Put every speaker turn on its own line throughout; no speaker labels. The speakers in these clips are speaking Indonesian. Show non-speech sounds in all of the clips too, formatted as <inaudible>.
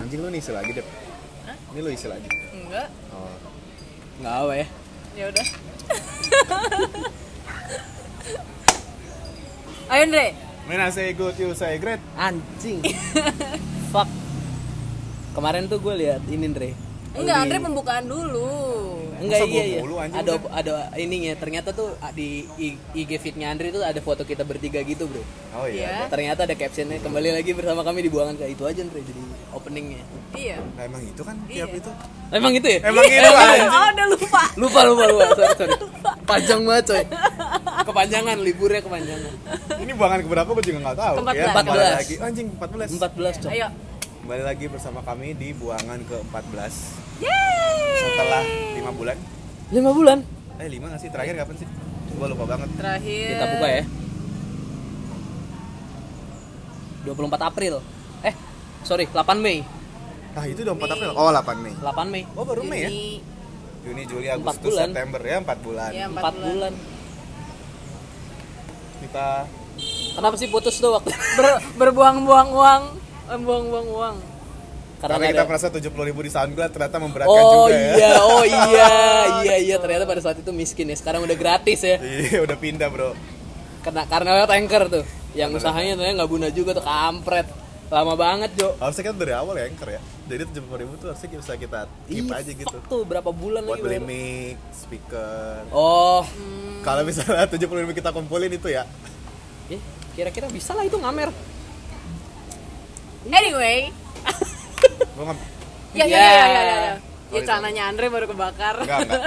Anjing lu nih isi lagi deh.
Hah?
Ini lu isi lagi.
Enggak.
Oh.
Nggak apa ya?
Ya udah. <laughs> Ayo Andre.
Man, I say good, you say great.
<laughs> Anjing. Fuck. Kemarin tuh gue lihat ini Andre.
Enggak,
Di-
Andre pembukaan dulu.
Enggak
Masa gua
iya iya.
mulu, anjing,
Ada ada ininya. Ternyata tuh di I- IG feednya Andre tuh ada foto kita bertiga gitu, Bro.
Oh iya.
Iya.
Ternyata ada captionnya kembali lagi bersama kami di buangan kayak itu aja Andre jadi openingnya.
Iya.
Nah, emang itu kan tiap
Iya.
itu.
Emang gitu ya?
Emang itu anjing.
<laughs> Oh, udah lupa.
lupa lupa lupa sorry sorry panjang banget coy kepanjangan liburnya kepanjangan
Ini buangan keberapa gue juga nggak tahu.
Keempat
Ya,
belas.
kembali
Keempat
lagi. Oh, anjing 14.
14 coy
Ayo.
Kembali lagi bersama kami di buangan ke-14
Yeay.
setelah 5 bulan.
5 bulan
Eh, 5 nggak sih? Terakhir kapan sih? Gua lupa banget.
Terakhir.
kita buka ya 24 April eh sorry 8 Mei
Nah, itu udah 4 April. Oh, 8 Mei.
8 Mei
Oh, baru Mei ya?
Juni.
Juni, Juli,
Empat
Agustus,
bulan.
September ya, 4 bulan.
Iya.
4
Empat
bulan
Kita
kenapa sih putus tuh <laughs> waktu
Ber- berbuang-buang uang, eh, buang-buang uang.
karena,
nggak
kita
ada-
merasa 70 ribu di SoundCloud ternyata memberatkan
Oh
juga ya.
iya, <laughs> oh iya, iya iya ternyata pada saat itu miskin ya. Sekarang udah gratis ya.
<laughs> Iya, udah pindah, Bro.
Karena karena lewat anchor tuh. Yang usahanya ternyata nggak guna juga tuh kampret. Lama banget, Jo.
Harusnya kita dari awal ya anchor ya. Jadi 70 ribu tuh harusnya kita- bisa kita keep
Ih,
aja gitu.
Iya, fuck tuh berapa bulan
Buat beli
lagi baru?
mic, speaker.
Oh,
Kalau misalnya <laughs> 70 ribu kita kumpulin itu ya.
eh, kira-kira bisa lah itu ngamer.
Anyway,
Gua nggak
ya ya
Ya.
ya ya ya. ya. Ya
Sorry,
celananya Andre baru kebakar.
enggak enggak.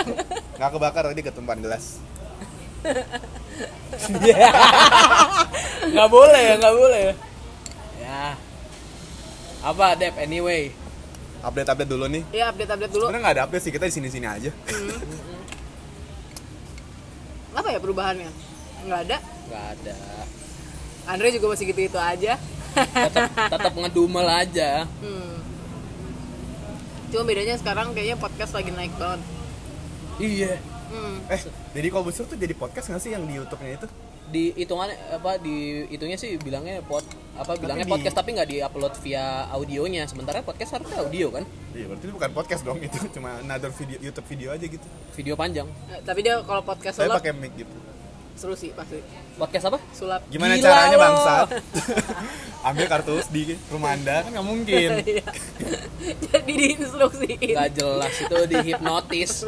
Enggak kebakar tadi ketumpahan gelas.
nggak boleh ya, nggak boleh ya. Ya. Apa Dep anyway?
Update-update dulu nih.
<laughs> Ya update-update dulu.
Sebenarnya nggak ada update sih, kita di sini-sini aja. <laughs>
Apa ya perubahannya? Enggak ada.
Nggak ada.
Andre juga masih gitu-gitu aja.
Tetap tetap ngedumel aja.
Hmm. Cuma bedanya sekarang kayaknya podcast lagi naik banget.
Iya.
Hmm.
Eh, jadi Kobusur tuh jadi podcast nggak sih yang di YouTube-nya itu?
Di hitungannya apa di itunya sih bilangnya pot apa bilangnya
di-
podcast tapi nggak diupload via audionya. Sementara podcast harusnya audio kan?
Iya, berarti itu bukan podcast dong <laughs> itu, cuma another video YouTube video aja gitu.
Video panjang.
Eh, Tapi dia kalau podcast
Saya
sulap
pakai mic gitu.
seru sih pasti.
Podcast apa?
Sulap.
Gimana
Gila
caranya
lo. <laughs>
bangsat? Ambil kartu di rumah Anda kan nggak
<laughs>
mungkin.
<laughs> Iya. <laughs> Jadi diinstruksiin.
nggak jelas itu dihipnotis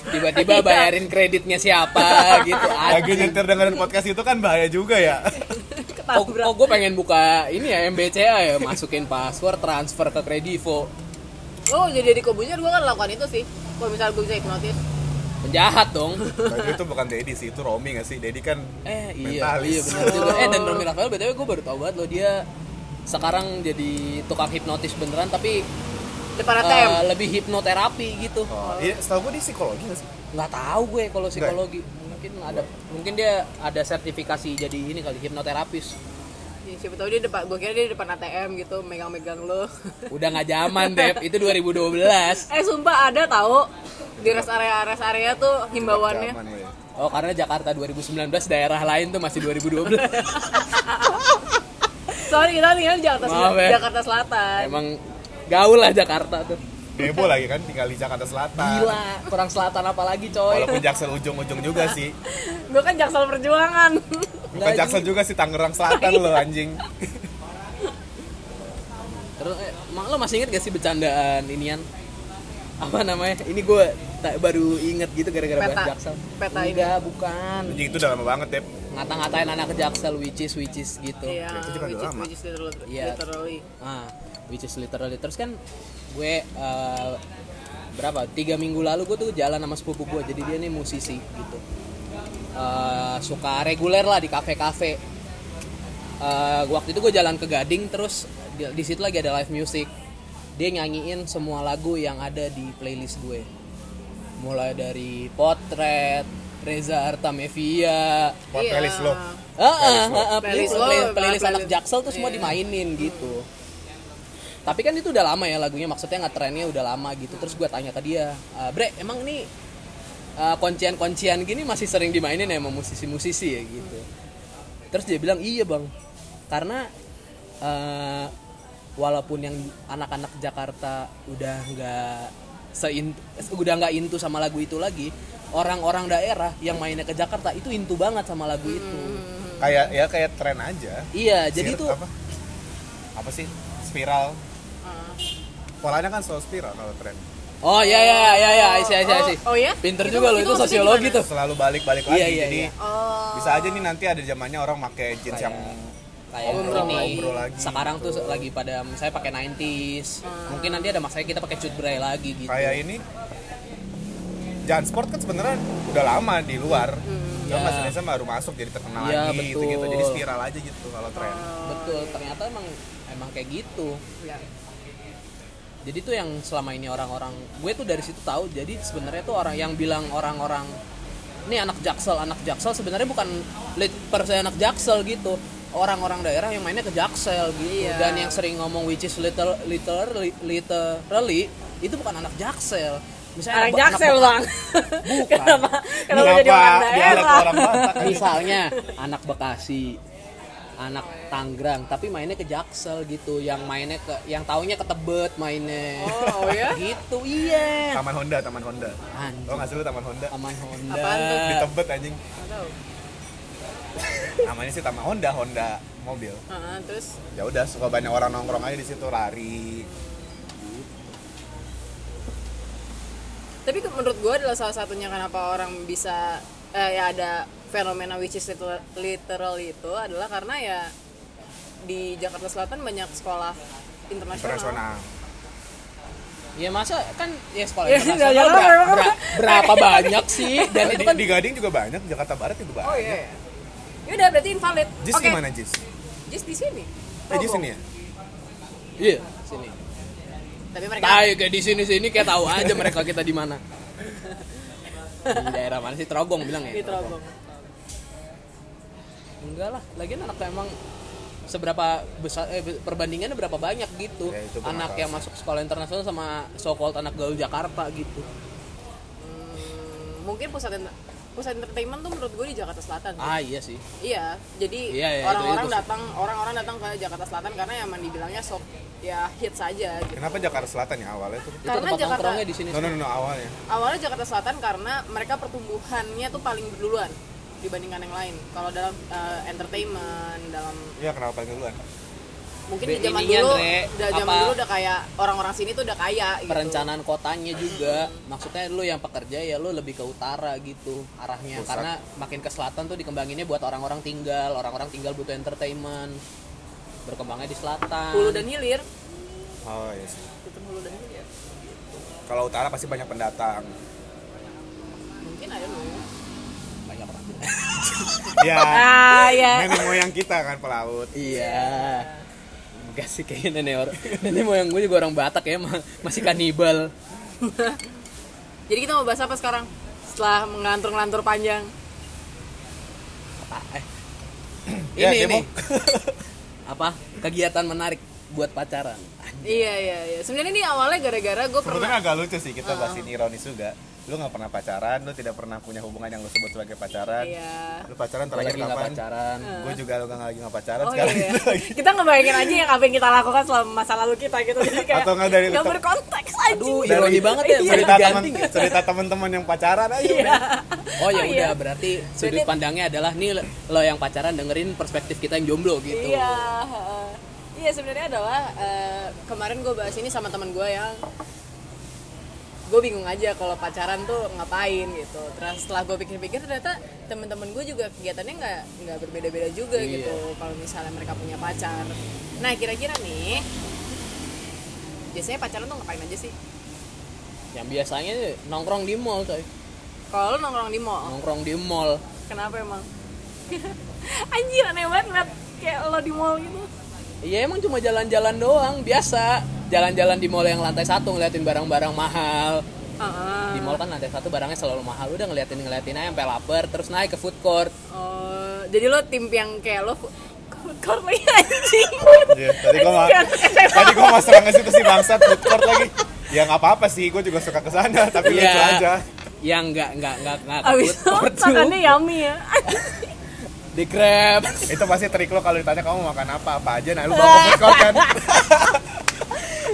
tiba-tiba bayarin kreditnya siapa gitu
Lagi
anjing
nyetir dengerin podcast itu kan bahaya juga ya.
oh,
Ketabrak.
gue pengen buka ini ya MBCA ya masukin password transfer ke kredivo
Oh, jadi di kobunya gue kan lakukan itu sih. Kalau misalnya gue bisa hipnotis.
penjahat dong
Tapi itu bukan Dedi sih, itu Romi nggak sih? Dedi kan
eh iya
Mentalis.
iya benar juga eh dan Romi Rafael btw gue baru tau banget loh dia sekarang jadi tukang hipnotis beneran tapi
Depan
eh,
ATM.
lebih hipnoterapi gitu
<laughs> Oh, iya, setahu gue dia psikologi nggak sih?
nggak tahu gue kalau psikologi mungkin ada mungkin dia ada sertifikasi jadi ini kali hipnoterapis
Ya, siapa tahu dia depan, gue kira dia di depan ATM gitu, megang-megang lo. <laughs>
udah nggak zaman Dep itu 2012
eh sumpah ada tahu di rest area rest area tuh himbauannya.
Zaman lo ya.
Oh karena Jakarta 2019 daerah lain tuh masih 2012
Sorry kita tinggal di Jakarta,
Maaf
Sel-
ya.
Jakarta Selatan.
Emang gaul lah Jakarta tuh
Heboh lagi kan tinggal di Jakarta Selatan.
Gila kurang selatan apalagi coy
Walaupun Jaksel ujung-ujung juga sih.
Gue kan Jaksel Perjuangan. <laughs>
Bukan Jaksel juga sih Tangerang Selatan lo
Iya.
anjing.
Terus eh, emang lo masih inget gak sih bercandaan inian? Apa namanya? Ini gue tak baru inget gitu gara-gara
Peta.
bahas Jaksel
Peta ini.
Enggak bukan
Anjing itu udah lama banget, Dep.
Ngata-ngatain anak Jaksel which is which is gitu
Iya,
Itu kan udah
which is,
lama.
which is literally.
Iya.
literally.
Ah, which is literally terus kan gue eh, berapa tiga minggu lalu gue tuh jalan sama sepupu gue jadi dia nih musisi gitu Eh, suka reguler lah di kafe-kafe Eh, waktu itu gue jalan ke Gading terus di, di situ lagi ada live music dia nyanyiin semua lagu yang ada di playlist gue mulai dari potret Reza Artamevia
Buat
Iya.
playlist lo.
Ah, ah, ah, ah,
Playlist
playlist,
lo,
playlist,
playlist-
playlist anak
playlist. Iya.
Jaksel tuh semua dimainin gitu. Tapi kan itu udah lama ya lagunya, maksudnya nggak trennya udah lama gitu. Terus gue tanya ke dia, "Ah, Bre, emang ini ah, kuncian-kuncian gini masih sering dimainin ya sama musisi-musisi ya gitu. Terus dia bilang, iya bang, karena ah, walaupun yang anak-anak Jakarta udah nggak sein udah nggak intu sama lagu itu lagi orang-orang daerah yang mainnya ke Jakarta itu intu banget sama lagu itu
Hmm.
kayak ya kayak tren aja
iya jadi
Sir-
tuh
apa apa sih spiral
Ah.
polanya kan selalu spiral kalau tren
oh ya ya ya ya isi isi
Oh,
isi
oh ya?
pinter
Itu-
juga loh
itu
itu
maksudnya
sosiologi
gimana?
tuh
selalu balik balik lagi
Iya, iya,
jadi
iya.
Oh.
bisa aja nih nanti ada zamannya orang pakai jeans yang
kayak gitu.
Ngobrol
ini
lagi. Ngobrol lagi, gitu.
sekarang tuh lagi pada saya pakai 90s
Ah.
mungkin nanti ada masanya kita pakai cut bray lagi gitu
kayak ini Jansport kan sebenarnya udah lama di luar cuma
Iya.
Mas Indonesia baru masuk jadi terkenal
Iya,
lagi gitu gitu
betul.
jadi spiral aja gitu kalau tren
betul ternyata emang emang kayak gitu
Ya.
jadi tuh yang selama ini orang-orang gue tuh dari situ tahu jadi sebenarnya tuh orang yang bilang orang-orang ini anak jaksel anak jaksel sebenarnya bukan lead person anak jaksel gitu orang-orang daerah yang mainnya ke jaksel gitu
Iya.
dan yang sering ngomong which is little literally, literally itu bukan anak jaksel
Anak
misalnya anak-
jaksel
anak-
bang. <laughs> kenapa? Kenapa jadi orang
dialek
daerah?
orang Batak kan?
misalnya anak Bekasi anak Tangerang tapi mainnya ke Jaksel gitu yang mainnya ke yang taunya ke Tebet mainnya
Oh, oh ya?
gitu iya
Taman Honda Taman Honda
Anjing,
lo nggak sih lu Taman Honda
Taman Honda
Apaan tuh? Gitu.
di Tebet anjing
Nggak tahu.
namanya sih Taman Honda Honda mobil
Ah, terus
ya udah suka banyak orang nongkrong aja di situ lari
tapi ke- menurut gue adalah salah satunya kenapa orang bisa eh, ya ada fenomena which is liter- literal itu adalah karena ya di Jakarta Selatan banyak sekolah internasional.
internasional
ya masa kan ya sekolah
Ya,
internasional
ya, ya, ya,
bera-
ya.
bera- berapa banyak
<laughs>
sih dan itu
di,
kan
di Gading juga banyak Jakarta Barat juga banyak
Oh iya. iya. Yaudah berarti invalid.
Jis gimana Jis?
Jis di sini.
Eh Jis
Progo.
ini ya?
iya sini
Tapi mereka
tai kayak di sini sini kayak tahu aja mereka kita di
<laughs>
mana di daerah mana sih Trogong bilang ya
di Trogong.
enggak lah lagian anak tuh emang seberapa besar eh, be- perbandingannya berapa banyak gitu
Ya, itu bermasalah.
anak yang masuk sekolah internasional sama so called anak gaul Jakarta gitu
Hmm, mungkin pusat enter- pusat entertainment tuh menurut gue di Jakarta Selatan. sih.
ah iya sih
Iya, jadi
Iya, iya,
orang-orang
itu- itu sih.
datang orang-orang datang ke Jakarta Selatan karena emang dibilangnya sok ya hits aja gitu.
Kenapa Jakarta Selatan ya awalnya tuh?
itu
Karena
tempat
Jakarta-
nongkrongnya di sini
No, no, no, no, awalnya
Awalnya Jakarta Selatan karena mereka pertumbuhannya tuh paling duluan dibandingkan yang lain. Kalau dalam eh, entertainment, dalam
Iya kenapa paling duluan?
mungkin
Be-
di zaman
ininya,
dulu,
Dre,
da- zaman
apa-
dulu udah kayak orang-orang sini tuh udah kaya gitu.
perencanaan kotanya juga maksudnya lu yang pekerja ya lu lebih ke utara gitu arahnya
Pusat.
karena makin ke selatan tuh dikembanginnya buat orang-orang tinggal orang-orang tinggal butuh entertainment berkembangnya di selatan
Hulu dan hilir,
Oh iya sih
Sistem hulu dan hilir.
Kalau utara pasti banyak pendatang
Mungkin ada loh.
banyak orang
<laughs> Ya
Ah
nenek moyang kita kan pelaut
Iya. Enggak sih kayaknya nenek orang. Nenek moyang gue juga orang Batak ya, ma- masih kanibal.
Jadi kita mau bahas apa sekarang? Setelah mengantur-ngelantur panjang.
Ini
Ya, demo.
ini. Apa? Kegiatan menarik buat pacaran.
Iya iya iya. Sebenarnya ini awalnya gara-gara gue pernah
Sebenarnya kan agak lucu sih kita bahasin ironis juga Lu nggak pernah pacaran, lu tidak pernah punya hubungan yang lu sebut sebagai pacaran
Iya.
Lu pacaran
Gue
terakhir
lagi nggak
kapan?
pacaran.
<laughs>
Gue juga lu nggak lagi nggak pacaran
Oh
sekarang
iya.
kita <laughs> lagi
Kita ngebayangin aja yang apa yang kita lakukan selama masa lalu kita gitu. Jadi kayak
Atau nggak dari
nggak
ter-
berkonteks Iya. aja.
Aduh, ironi banget ya, boleh
cerita teman
diganti. nggak?
cerita teman-teman yang pacaran aja
Oh ya
Oh,
udah,
iya.
berarti sudut
Jadi-
pandangnya adalah nih lo yang pacaran dengerin perspektif kita yang jomblo gitu.
Iya. heeh. Iya sebenarnya adalah eh, kemarin gue bahas ini sama teman gue yang gue bingung aja kalau pacaran tuh ngapain gitu. Terus setelah gue pikir-pikir ternyata temen-temen gue juga kegiatannya nggak nggak berbeda-beda juga
Iya.
gitu. Kalau misalnya mereka punya pacar. Nah kira-kira nih biasanya pacaran tuh ngapain aja sih?
Yang biasanya nongkrong di mall
Oh.
coy.
Kalau lu nongkrong di mall,
Nongkrong di mall.
kenapa emang? <laughs> Anjir aneh banget Nat. kayak lo di mall gitu.
Iya emang cuma jalan-jalan doang biasa. Jalan-jalan di mall yang lantai satu ngeliatin barang-barang mahal.
Heeh.
di mall kan lantai satu barangnya selalu mahal udah ngeliatin ngeliatin aja sampai lapar terus naik ke food court
Oh, jadi lo tim yang kayak lo <laughs> food court lagi anjing.
Iya, tadi gua ma-
Anjing,
tadi gua mau serang ke situ sih bangsa food court lagi. Ya nggak apa-apa sih, gua juga suka ke sana tapi lucu
Iya.
aja.
yang nggak nggak nggak nggak
Gitu
ke
Abis
food
itu
court tuh
makannya yummy ya.
di grab <laughs>
Itu pasti trik lo kalau ditanya kamu makan apa apa aja, nah lu bawa ke food court kan.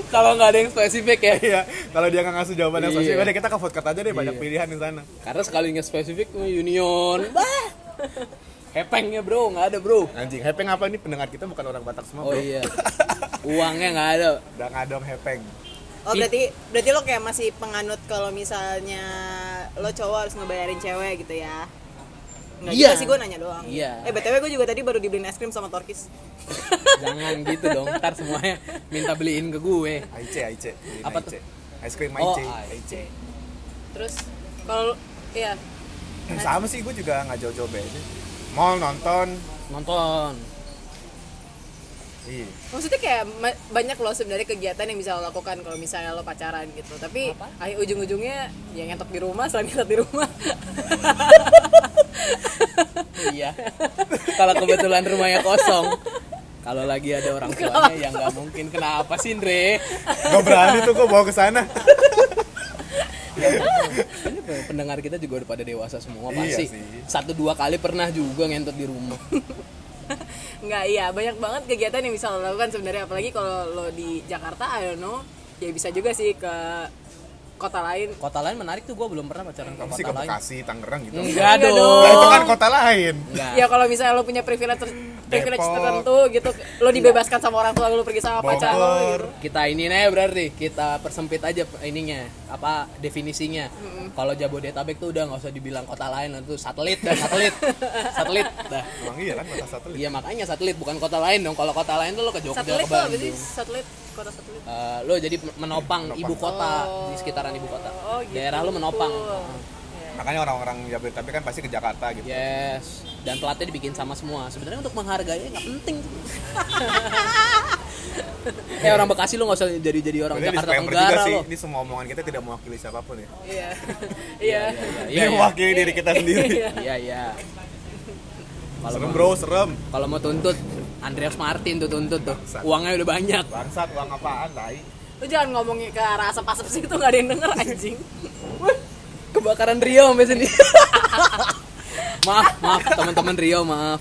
kalau nggak ada yang spesifik ya
Iya, kalau dia nggak ngasih jawaban yang
Iya.
spesifik, udah kita ke vote aja deh banyak
Iya.
pilihan di sana.
karena sekali nggak spesifik oh, union bah hepengnya bro nggak ada bro
Anjing, hepeng apa ini pendengar kita bukan orang Batak semua,
oh
Bro.
iya uangnya nggak ada
Udah ngadong hepeng.
Oh berarti berarti lo kayak masih penganut kalau misalnya lo cowok harus ngebayarin cewek gitu ya? Nggak
Iya.
juga sih gue nanya doang.
Iya.
Eh btw gue juga tadi baru dibeliin es krim sama Torkis.
jangan gitu dong ntar semuanya minta beliin ke gue
Aice, Aice. Beliin
Apa
Aice.
tuh?
Ice cream
Oh,
Aice, Aice.
Aice.
Terus kalau iya
Oh,
Sama sih, gue juga nggak jauh-jauh beda. Mall nonton,
nonton
iya.
maksudnya kayak ma- banyak lo sebenarnya kegiatan yang bisa lo lakukan kalau misalnya lo pacaran gitu. Tapi akhir ujung-ujungnya ya ngetok di rumah selain ngetok di <laughs> rumah.
iya kalau kebetulan rumahnya kosong kalau lagi ada orang tuanya yang nggak mungkin kenapa sih Andre
Gak berani tuh gue bawa ke sana.
ini pendengar kita juga udah pada dewasa
Iya
semua pasti
sih.
satu dua kali pernah juga ngentot di
<laughs>
rumah
Nggak iya banyak banget kegiatan yang bisa lo lakukan sebenarnya apalagi kalau lo di Jakarta I don't know ya bisa juga sih ke kota lain
kota lain menarik tuh gue belum pernah pacaran ke
Kamu sih
kota
ke
lain
Bekasi, Tangerang gitu.
enggak
Enggak
Lah itu
dong
kan kota lain.
enggak
Ya kalau misalnya lo punya privilege ter- privilege
Depok.
tertentu gitu, lo dibebaskan sama orang tua lo pergi sama pacar lo
Bogor.
gitu.
kita ini nih berarti kita persempit aja ininya apa definisinya kalau Jabodetabek tuh udah nggak usah dibilang kota lain lah, itu satelit dah <laughs> satelit satelit dah
Emang iya kan kota satelit.
iya makanya satelit bukan kota lain dong kalau kota lain tuh lo ke Jogja
Satelit tuh
ke
apa
Bandung
sih? Satelit kota satelit.
Eh, lo jadi menopang, ibu kota di sekitaran ibu kota
Oh, gitu.
daerah lo menopang
Makanya orang-orang Jabodetabek kan pasti ke Jakarta
Iya.
gitu.
yes dan platnya dibikin sama semua sebenarnya untuk menghargainya nggak
<laughs>
penting eh orang Bekasi lo nggak usah jadi jadi orang
Sebenarnya
Jakarta
disclaimer juga
Tenggara
sih,
lo
ini semua omongan kita tidak mewakili siapapun ya.
<laughs> Iya. Iya.
Ini mewakili diri kita sendiri.
Iya iya. Kalau
serem
mau-
bro, serem.
kalau mau tuntut Andreas Martin tuh tuntut tuh.
Bangsat.
Uangnya udah banyak.
Bangsat, uang apaan, tai.
Lu jangan ngomong ke arah asap-asap situ nggak ada yang denger anjing.
Kebakaran Rio sampai sini. <laughs> maaf, maaf teman-teman Rio, maaf.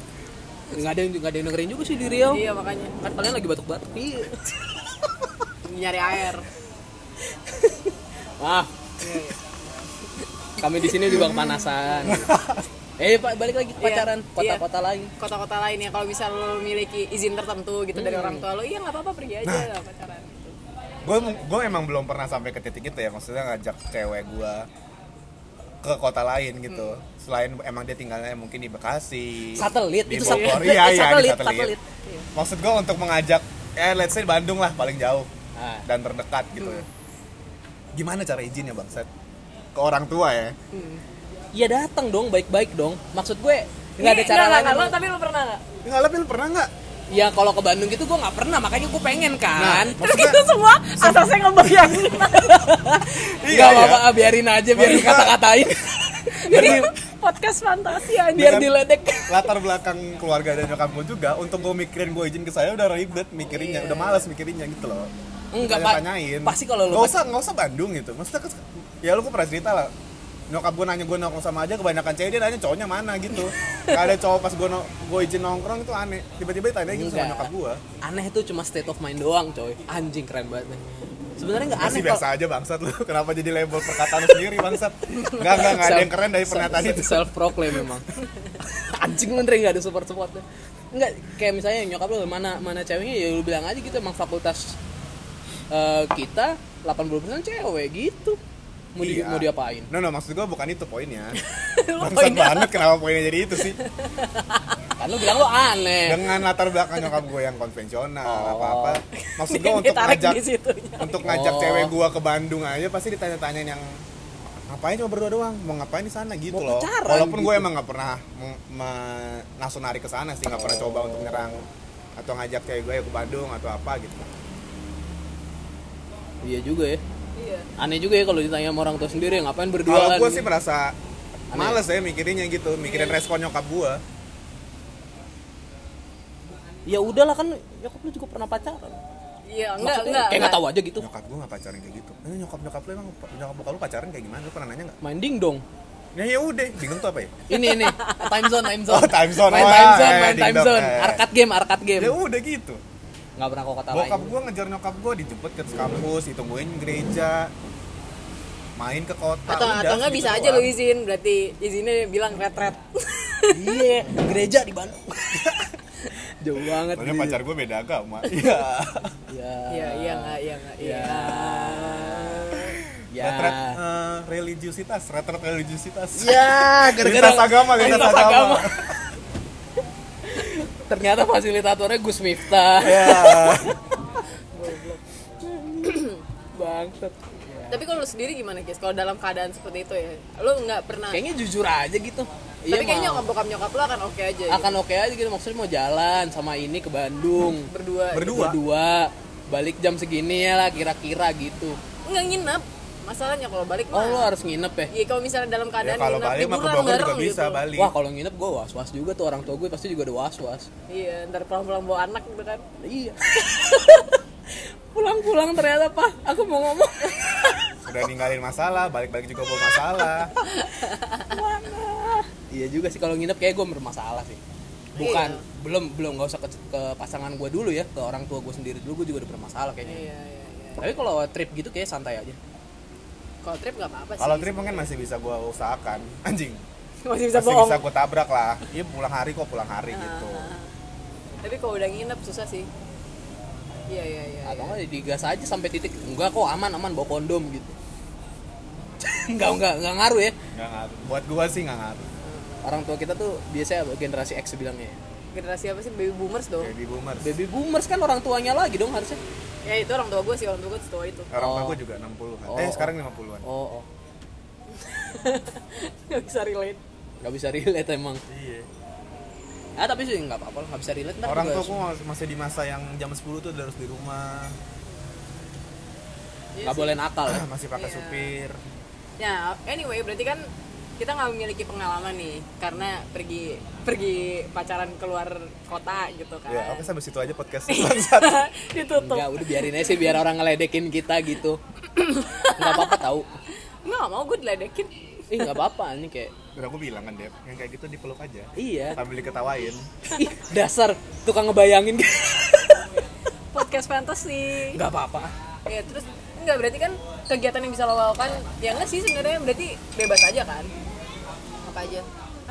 Enggak ada yang enggak ada yang dengerin juga sih di Rio.
iya makanya
Kan kalian lagi batuk-batuk. Iya.
nyari air.
Maaf.
Iya,
Kami di sini juga
<laughs>
kepanasan. eh, Pak, balik lagi ke
Iya,
pacaran
iya.
kota-kota lain.
Kota-kota lain ya kalau misalnya lo miliki izin tertentu gitu dari orang tua lo, iya nggak apa-apa pergi aja lah pacaran. gitu.
Gue gue emang belum pernah sampai ke titik itu ya, maksudnya ngajak cewek gue ke kota lain gitu.
Hmm.
Selain emang dia tinggalnya mungkin di Bekasi.
Satelit
di
itu
Bogor.
satelit.
Iya, iya,
Satelit,
di satelit.
satelit.
Maksud gue untuk mengajak eh let's say Bandung lah paling jauh
Ah.
dan terdekat gitu. ya. Gimana cara izinnya Bang Set? Ke orang tua ya.
Hmm.
Iya datang dong, baik-baik dong. Maksud gue nggak
Iya,
ada
Ih,
cara
Iya, nggak,
lain.
nggak,
dong.
lo- tapi lo pernah nggak?
Enggak lah, Pil, pernah nggak?
Ya kalau ke Bandung gitu gue nggak pernah, makanya gue pengen kan.
Nah,
Terus
Maksudnya-
itu semua asasnya ngebayangin.
iya,
<laughs> Nggak
iya.
apa-apa, biarin aja, biarin
Maksudnya- <laughs>
kata-katain,
Jadi <laughs>
Iya.
podcast fantasi anjing.
biar
Dengan-
diledek.
Latar belakang keluarga dan nyokap gue juga untuk gue mikirin gue izin ke saya udah ribet mikirinnya, udah malas mikirinnya gitu loh.
Enggak,
Tanya-
Pak.
tanyain.
Pasti kalau lu
nggak usah nggak usah Bandung gitu. Maksudnya kes- ya lu gue pernah cerita lah. Nyokap gue nanya gue nongkrong sama aja kebanyakan cewek dia nanya cowoknya mana gitu. Gak ada cowok pas gue no- gue izin nongkrong itu aneh. Tiba-tiba ditanya gitu sama
Enggak.
nyokap gue.
Aneh itu cuma state of mind doang, coy. Anjing keren banget. men. Sebenarnya nggak aneh
Masih biasa
kalau-
aja bangsat <laughs> lu. Kenapa jadi label perkataan lu sendiri bangsat? Enggak enggak enggak ada yang keren dari
Self-
pernyataan
self-
itu.
Self proclaim memang. <laughs> Anjing lu Andre nggak ada support supportnya. Enggak, kayak misalnya nyokap lu mana mana ceweknya ya lu bilang aja gitu emang fakultas eh, kita 80% cewek gitu. Mau di,
Iya.
mau diapain?
No no maksud gue bukan itu
<laughs>
poinnya.
Lu
Bangsat
poinnya.
banget kenapa poinnya jadi itu sih?
Kan lu bilang lu aneh.
Dengan latar belakang nyokap gue yang konvensional
Oh.
apa-apa.
<laughs>
Maksud gue untuk
Ditarik
ngajak
di situnya.
untuk ngajak
Oh.
cewek gua ke Bandung aja pasti ditanya-tanyain yang ngapain cuma berdua doang mau ngapain di sana gitu loh
Mau pacaran
walaupun gue
gitu.
emang nggak pernah me- me- langsung narik ke sana sih nggak pernah coba untuk nyerang atau ngajak cewek gue ke Bandung atau apa gitu
Iya juga ya.
Iya.
Aneh juga ya kalau ditanya sama orang tua sendiri ngapain berdua
kalau gue sih merasa males ya mikirinnya gitu mikirin
Iya.
respon nyokap gue
Ya udahlah kan nyokap lu juga pernah pacaran.
Iya, enggak,
Maksudnya
enggak.
kayak nggak tahu aja gitu.
nyokap gue nggak pacaran kayak gitu eh, nyokap nyokap lu emang nyokap bokap lu pacaran kayak gimana lu pernah nanya nggak
Main ding dong.
ya ya udah bingung tuh apa ya
Ini ini time zone time zone.
Oh, time zone.
Main
Wah,
time zone,
eh,
main
ding
time
dong,
zone.
eh.
Iya. Arcade game, arcade game.
ya udah gitu
nggak pernah kau kata
bokap
lain
gue ngejar nyokap gue dijemput ke kampus ditungguin gereja main ke kota
atau
udah,
atau nggak
segitu
bisa aja lu
gitu doang.
izin berarti izinnya bilang retret <laughs>
iya gereja di Bandung jauh banget
Soalnya
Di.
pacar gue beda agama <laughs> Iya
ya
iya iya nggak iya nggak iya
ya
Retret eh, religiusitas Retret religiusitas
ya
<laughs>
gara-gara
Lintas agama Lintas,
lintas
agama,
agama. <laughs> ternyata fasilitatornya Gus Miftah
<laughs> Iya
bangsat
tapi kalau lu sendiri gimana guys kalau dalam keadaan seperti itu ya lu nggak pernah
kayaknya jujur aja gitu
tapi
Iya,
kayaknya
mau.
nyokap bokap nyokap lu akan oke aja gitu.
akan oke aja gitu maksudnya mau jalan sama ini ke Bandung
berdua
Ber- Berdua?
balik jam segini ya lah kira-kira gitu
nggak nginep masalahnya kalau balik
oh
mah
lu harus nginep ya
Iya kalau misalnya dalam
Ya,
keadaan
Kalau balik mah ke
liburan
Bogor
bareng
juga bisa
gitu.
Bali
wah kalau nginep gue was was juga tuh orang tua gue pasti juga ada was was
Iya, ntar pulang-pulang bawa anak gitu kan.
iya <laughs> pulang-pulang ternyata pak aku mau ngomong
Udah ninggalin masalah Balik-balik juga bawa masalah
iya juga sih kalau nginep kayak gue bermasalah sih bukan belum belum nggak usah ke, ke pasangan gue dulu ya ke orang tua gue sendiri dulu gue juga udah bermasalah kayaknya
Iya, iya, iya.
tapi kalau trip gitu kayak santai aja
Kalau trip nggak apa-apa sih.
Kalau trip mungkin masih bisa gue usahakan Anjing
masih bisa
Masih
bohong.
bisa gue tabrak lah Iya pulang hari kok pulang
Ah.
hari gitu
Tapi kalau udah nginep susah sih. Iya, iya, iya.
atau
iya.
nggak digas aja sampai titik enggak kok aman aman bawa kondom gitu <laughs> nggak nggak nggak ngaruh ya
Nggak ngaruh Buat gue sih nggak ngaruh
orang tua kita tuh biasanya generasi X bilangnya
Generasi apa sih baby boomers dong?
Baby boomers
baby boomers kan orang tuanya lagi dong harusnya
Ya itu orang tua gue sih, orang tua gue setua itu.
Orang tua
Oh.
gue juga 60-an
Oh,
Eh
oh.
sekarang 50-an
oh, oh.
<laughs> Gak bisa relate.
nggak bisa relate emang
Iya
ah tapi sih nggak apa-apa lah, nggak bisa relate ntar
Orang
juga
tua gue masih di masa yang jam 10 tuh udah harus di rumah
Iya
nggak
sih.
boleh nakal ya.
<clears throat> Masih pakai
Iya.
supir
Nah, anyway, berarti kan kita nggak memiliki pengalaman nih karena pergi pergi pacaran keluar kota gitu kan.
Ya oke sampai situ aja podcast
Iya.
Bangsat.
<laughs> Ditutup.
Enggak, udah biarin aja sih biar orang ngeledekin kita
<coughs>
gitu. Enggak apa-apa tahu.
Enggak, nggak mau gue diledekin.
Ih, enggak apa-apa ini kayak
<laughs> Udah aku bilang kan Dep, yang kayak gitu dipeluk aja
iya.
Sambil diketawain
Ih, dasar tukang ngebayangin.
Podcast fantasy.
Enggak apa-apa.
Ya terus enggak berarti kan kegiatan yang bisa lo lakukan ya enggak sih sebenarnya berarti bebas aja kan? Apa aja?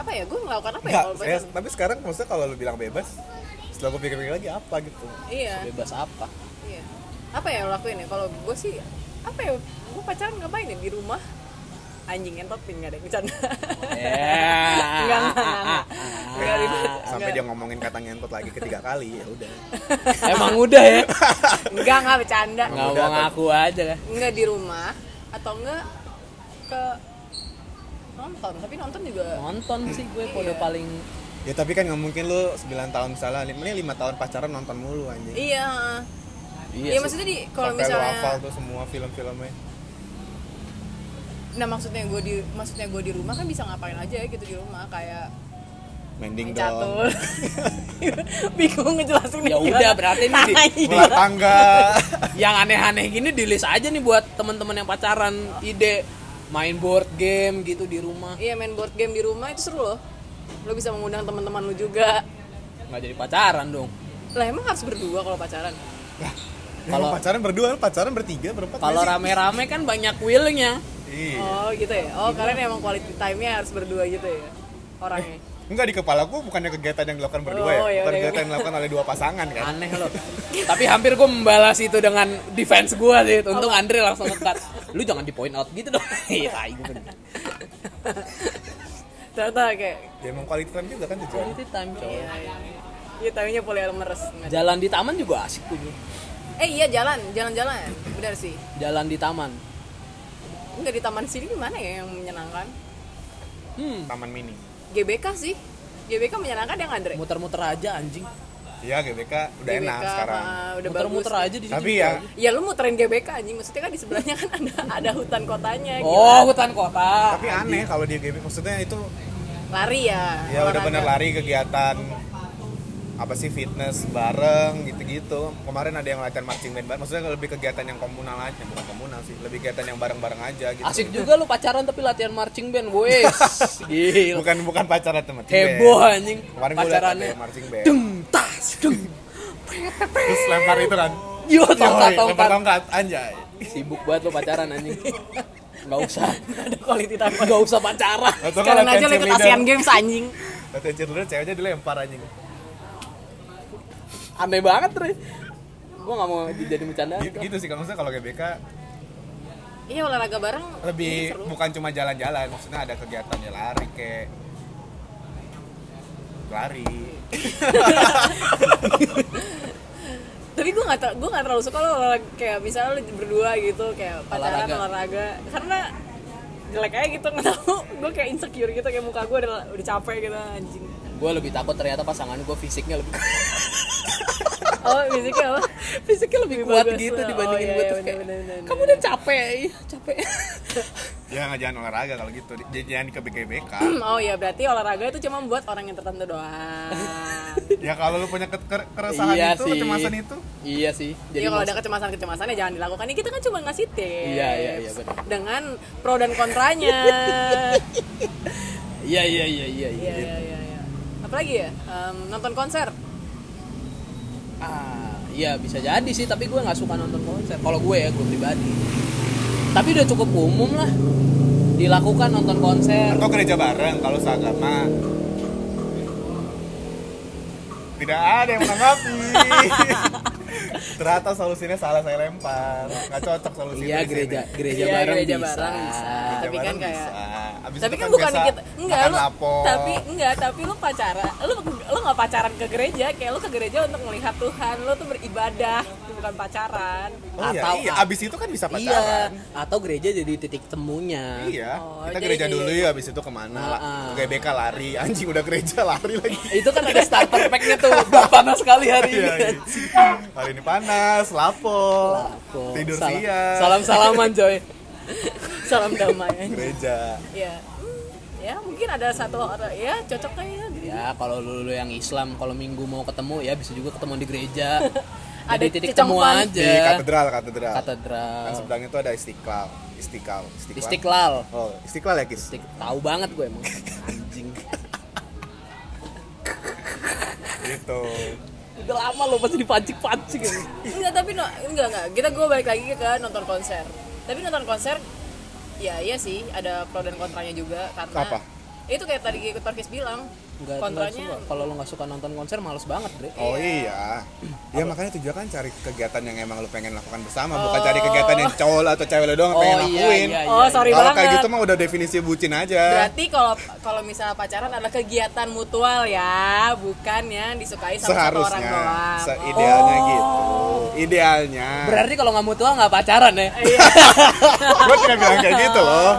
Apa ya? Gue melakukan apa ya
Enggak,
kalau
saya,
pacaran?
tapi sekarang maksudnya kalau lu bilang bebas Setelah gue pikir-pikir lagi apa gitu
Iya,
Bebas
<laughs>
apa?
iya. Apa ya lo lakuin ya? Kalau gue sih apa ya? Gue pacaran ngapain ya di rumah? Anjing entot pin enggak ada yang
<laughs>
bercanda.
Ya.
Enggak, enggak, enggak. Iya, Enggak ribet.
Ah, Sampai dia ngomongin kata ngentot lagi ketiga kali, ya udah
Emang udah ya.
Enggak, enggak bercanda.
Enggak.
Ngomong aku aja lah.
Enggak di rumah atau enggak ke nonton, tapi nonton juga
Nonton sih gue kode
Iya.
paling
Ya tapi kan nggak mungkin lu 9 tahun misalnya, ini 5 tahun pacaran nonton mulu anjing
Iya. Iya,
sih.
maksudnya di
Sampai
kalau
lu
misalnya
hafal tuh semua film-filmnya
Nah maksudnya gue di maksudnya gue di rumah kan bisa ngapain aja gitu di rumah kayak
Mending dong
catur. <laughs> Bingung ngejelasin
Ya udah berarti ini
<laughs> Iya.
di-
Ular tangga
yang aneh-aneh gini di list aja nih buat teman-teman yang pacaran ide main board game gitu di rumah
Iya main board game di rumah itu seru loh. Lo bisa mengundang teman-teman lo juga.
nggak jadi pacaran dong
Lah emang harus berdua kalau pacaran.
Kalau pacaran berdua, pacaran bertiga, berempat
kalau
nggak
Iya
rame-rame kan banyak willnya
sih? Iya
Oh gitu ya. Oh kalian emang quality time-nya harus berdua gitu ya
<laughs>
orangnya.
Enggak di kepala gue bukannya kegiatan yang dilakukan berdua
Oh,
ya, bukan
ya udah,
kegiatan yang dilakukan oleh dua pasangan kan.
Ah.
aneh loh tapi hampir gue membalas itu dengan defense gue sih untung Andre langsung ngekat lu jangan di point out gitu dong <laughs> iya tai gue bener
Ternyata kayak
Ya emang quality time juga kan tujuan.
quality time coy
iya iya. Iya tahunya polyamorous.
jalan di taman juga asik tuh Jul.
Eh iya jalan, jalan-jalan. Benar sih.
jalan di taman
Enggak di taman sini gimana ya yang menyenangkan?
hmm
Taman mini.
GBK sih. GBK menyenangkan yang Andre.
muter-muter aja anjing
Iya GBK udah enak
GBK,
sekarang.
ah, udah
muter-muter
bagus.
aja di situ
Tapi
juga
ya
aja.
Ya lu muterin GBK anjing, maksudnya kan di sebelahnya kan ada <laughs> ada hutan kotanya
oh
gila.
hutan kota
tapi aneh kalau dia GBK maksudnya itu
Lari ya.
ya udah
olahraga.
bener lari kegiatan apa sih fitness bareng gitu-gitu. Kemarin ada yang latihan marching band bareng. Maksudnya lebih kegiatan yang komunal aja, bukan komunal sih, lebih kegiatan yang bareng-bareng aja gitu.
asik juga lu pacaran tapi latihan marching band wes
<laughs>
gila
Bukan bukan pacaran Iya. teman.
heboh anjing
Kemarin gue liat ada
pacarannya
yang marching band.
dung tas dung pret
terus lempar itu kan
Yo, tongkat,
Yoi, lempar
tongkat.
tongkat anjay
Sibuk banget lo pacaran anjing. Enggak usah.
<laughs> ada quality time
Enggak usah pacaran.
Atau kalau
sekarang aja lu ikut
cheerleader-
ASEAN Games anjing
Latihan cheerleader ceweknya dilempar anjing
Aneh banget, Re. Gua enggak mau dijadiin bercandaan.
Gitu, gitu sih kalau misalnya kalau GBK
iya olahraga bareng
lebih
seru.
bukan cuma jalan-jalan maksudnya ada kegiatan ya lari kayak lari
tapi gue gak, ter- gua gak terlalu suka lo olahraga kayak misalnya lo berdua gitu kayak pacaran olahraga,
Olahraga.
karena jelek aja gitu nggak tahu gue kayak insecure gitu kayak muka gue udah, udah capek gitu
<laughs>
anjing
Gue lebih takut ternyata pasangan gue fisiknya lebih
oh fisiknya apa
fisiknya lebih kuat
bagus.
gitu
Oh,
dibandingin
iya,
gue
iya,
terus kayak
bener, bener, bener,
kamu udah capek iya capek
ya nggak jangan olahraga kalau gitu J- jangan ke GBK
<clears throat> oh iya berarti olahraga itu cuma buat orang yang tertentu
<laughs>
doang
ya kalau lu punya ke- ke- keresahan
Iya
itu
sih.
kecemasan itu
iya sih
Iya kalau
maksud-
ada kecemasan-kecemasan ya jangan dilakukan. Ini kita kan cuma ngasih tips.
Iya, iya, iya, benar.
Dengan pro dan
<laughs>
kontranya.
iya iya iya iya iya
Iya, iya, iya, iya. Apalagi ya? Em, nonton konser.
ah iya bisa jadi sih tapi gue nggak suka nonton konser kalau gue ya gue pribadi tapi udah cukup umum lah dilakukan nonton konser
atau gereja bareng kalau seagama tidak ada yang
<laughs>
menanggapi ternyata solusinya salah saya lempar nggak cocok solusinya
iya
di sini.
gereja gereja
Iya,
bareng
gereja
bisa,
bareng bisa.
Gereja
Tapi kan
bareng
kayak-
bisa. Abis
tapi
itu
kan bukan
biasa
kita enggak
makan
lu
lapo.
tapi enggak tapi lu pacaran lu lu nggak pacaran ke gereja kayak lu ke gereja untuk melihat Tuhan lu tuh beribadah bukan pacaran
oh, iya,
atau-
iya, abis itu kan bisa
iya
pacaran
atau gereja jadi titik temunya
Iya,
Oh,
kita
jadi
gereja
kayak-
dulu ya, abis itu kemana?
Ah,
lah
ah.
GBK lari, anjing udah gereja lari lagi.
itu kan ada starter packnya tuh udah panas sekali hari
Iya,
ini
iya. Hari ini panas, lapo,
Kok,
tidur
salam-
siang,
Salam-salaman coy.
salam damai
gereja.
ya Hmm, ya mungkin ada satu orang ya cocok kayaknya gereja.
<laughs> Ya kalau lu, lu yang Islam kalau Minggu mau ketemu ya bisa juga ketemu di <laughs> gereja.
Ada
Jadi titik
cicong
temu
fun.
Di
aja.
katedral, katedral. Dan
Ya. Katedral.
sebelahnya itu ada istiqlal, istiqlal, istiqlal.
Istiqlal.
Oh, istiqlal ya, Kis?
Istik- Tahu banget gue emang. Anjing.
Gitu.
<laughs> Udah lama lo pasti dipancing-pancing ini.
enggak tapi no, enggak enggak kita gue balik lagi ke nonton konser tapi nonton konser ya iya sih ada pro dan kontranya juga karena
Apa?
itu kayak tadi ikut Parkis bilang
Enggak
kontranya
suka. Kalau lo nggak suka nonton konser males banget, Bre.
Oh iya. Ya makanya tujuan kan cari kegiatan yang emang lu pengen lakukan bersama, bukan cari kegiatan yang cowok lu atau cewek lu
Oh,
doang
iya,
pengen lakuin.
Oh, sorry
Kalau
banget.
kayak gitu mah udah definisi bucin aja.
Berarti kalau kalau misalnya pacaran adalah kegiatan mutual ya, bukan yang disukai sama satu orang
Seharusnya,
doang. Oh.
seidealnya gitu. Idealnya.
Berarti kalau nggak mutual nggak pacaran ya.
Gue tidak bilang kayak gitu loh.
Oh.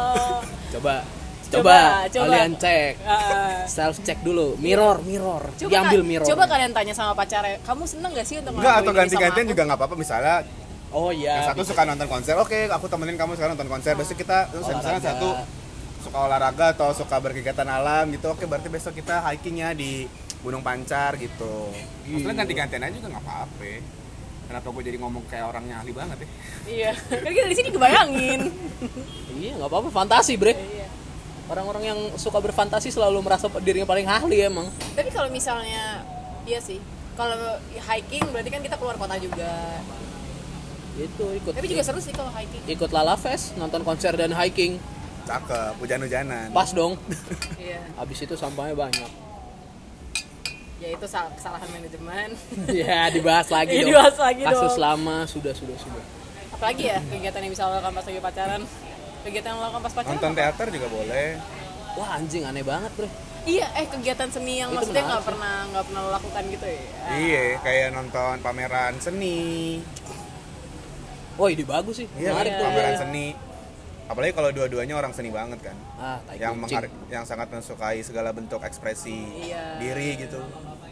Coba
Coba,
coba,
coba.
kalian cek.
Oh. Ah.
Self check dulu, mirror, mirror.
Coba
Diambil
ka-
mirror.
Coba kalian tanya sama pacarnya, kamu seneng gak sih untuk
Enggak atau
ngelakuin ini sama
ganti-gantian
aku?"
juga nggak apa-apa. Misalnya
Oh iya.
yang satu
bisa.
suka nonton konser, oke aku temenin kamu sekarang nonton konser. Besok kita terus misalnya
Olahraga.
satu suka olahraga atau suka berkegiatan alam gitu. Oke berarti besok kita hikingnya di Gunung Pancar gitu. Maksudnya ganti-gantian aja juga nggak apa-apa. Kenapa gue jadi ngomong kayak orangnya ahli banget ya?
Iya. <laughs> Kan kita di sini kebayangin.
Iya, nggak apa-apa fantasi, Bre.
Iya.
Orang-orang yang suka berfantasi selalu merasa dirinya paling ahli emang.
Tapi kalau misalnya iya sih. Kalau hiking berarti kan kita keluar kota juga.
Itu Gitu, ikut.
Tapi juga seru sih kalau hiking.
ikut Lala Fest, nonton konser dan hiking.
Cakep, hujan-hujanan.
Pas dong. <laughs>
Iya.
Abis itu sampahnya banyak. <laughs>
Ya itu sal- kesalahan manajemen.
ya, dibahas lagi
Iya,
dong.
dibahas lagi
Kasus
dong.
lama sudah sudah sudah.
<laughs> Apalagi ya kegiatan yang bisa lo lakukan pas lagi pacaran. Kegiatan yang lo lakukan pas pacaran
Nonton
apa?
teater juga boleh.
Wah, anjing aneh banget, Bre.
Iya, eh kegiatan seni yang
Itu
maksudnya
menarik
nggak
sih.
pernah nggak pernah lo lakukan gitu ya?
Iya, kayak nonton pameran seni.
Wah, ini bagus sih.
Iya,
Menarik
kan?
tuh.
pameran
Iya.
seni. Apalagi kalau dua-duanya orang seni banget kan.
Ah, tai
yang
kucing.
mengar- yang sangat mensukai segala bentuk ekspresi
Iya.
diri gitu,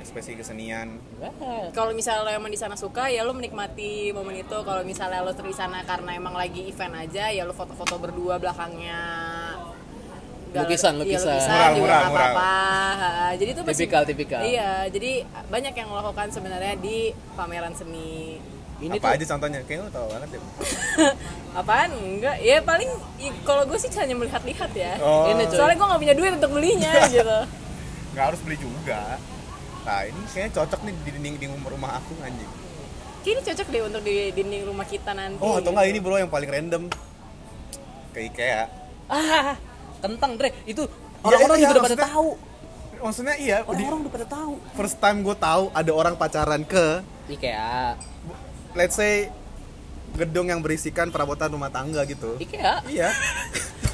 ekspresi kesenian.
Wah.
Kalau misalnya lo emang di sana suka ya lo menikmati momen itu. Kalau misalnya lo di sana karena emang lagi event aja ya lo foto-foto berdua belakangnya. Galeri-
Lukisan,
iya,
lukisan.
lukisan
Mural,
juga
mural,
nggak
mural.
apa-apa. Ha, Jadi itu masih-
Tipikal, tipikal.
Iya, jadi banyak yang melakukan sebenarnya di pameran seni. <laughs>
Ini
Apa
tuh
aja contohnya? Kayaknya lu tau banget
<laughs>
ya.
Apaan? Enggak. Ya paling i- kalau gue sih hanya melihat-lihat ya.
Oh,
Ini tuh.
Soalnya gue nggak punya duit untuk belinya
<laughs>
gitu.
nggak harus beli juga. Nah, ini kayaknya cocok nih di dinding-dinding rumah aku anjing.
Kayaknya ini cocok deh untuk di dinding rumah kita nanti.
Oh
Iya.
atau enggak ini bro yang paling random ke IKEA.
ah kentang Dre itu
Iya,
orang-orang
iya,
juga udah pada
maksudnya-
tahu
Maksudnya iya. di-
orang-orang udah pada tahu
first time gue tahu ada orang pacaran ke
IKEA
let's say gedung yang berisikan perabotan rumah tangga gitu.
IKEA
Iya.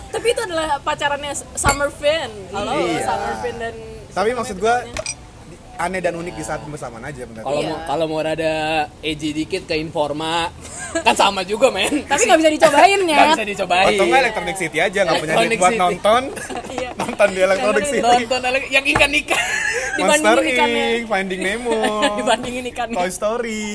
Tapi itu adalah pacarannya Summer Fin. Halo,
Iya.
Summer Fin dan
Tapi maksud gue aneh dan unik di saat bersamaan aja bentar.
Iya. kalau
Iya.
mau kalau mau rada edgy dikit ke Informa <laughs> kan sama juga men
tapi nggak bisa dicobain
nggak
ya.
bisa dicobain
Atau enggak Electronic City aja nggak punya duit
Electronic
buat
City.
nonton. <laughs>
Iya.
nonton di Electronic
Electronic
City.
nonton ele- yang ikan <laughs> ikan
dibandingin
Monster
ikannya.
Inc, Finding
<laughs>
Nemo,
Dibandingin ikan.
Toy Story.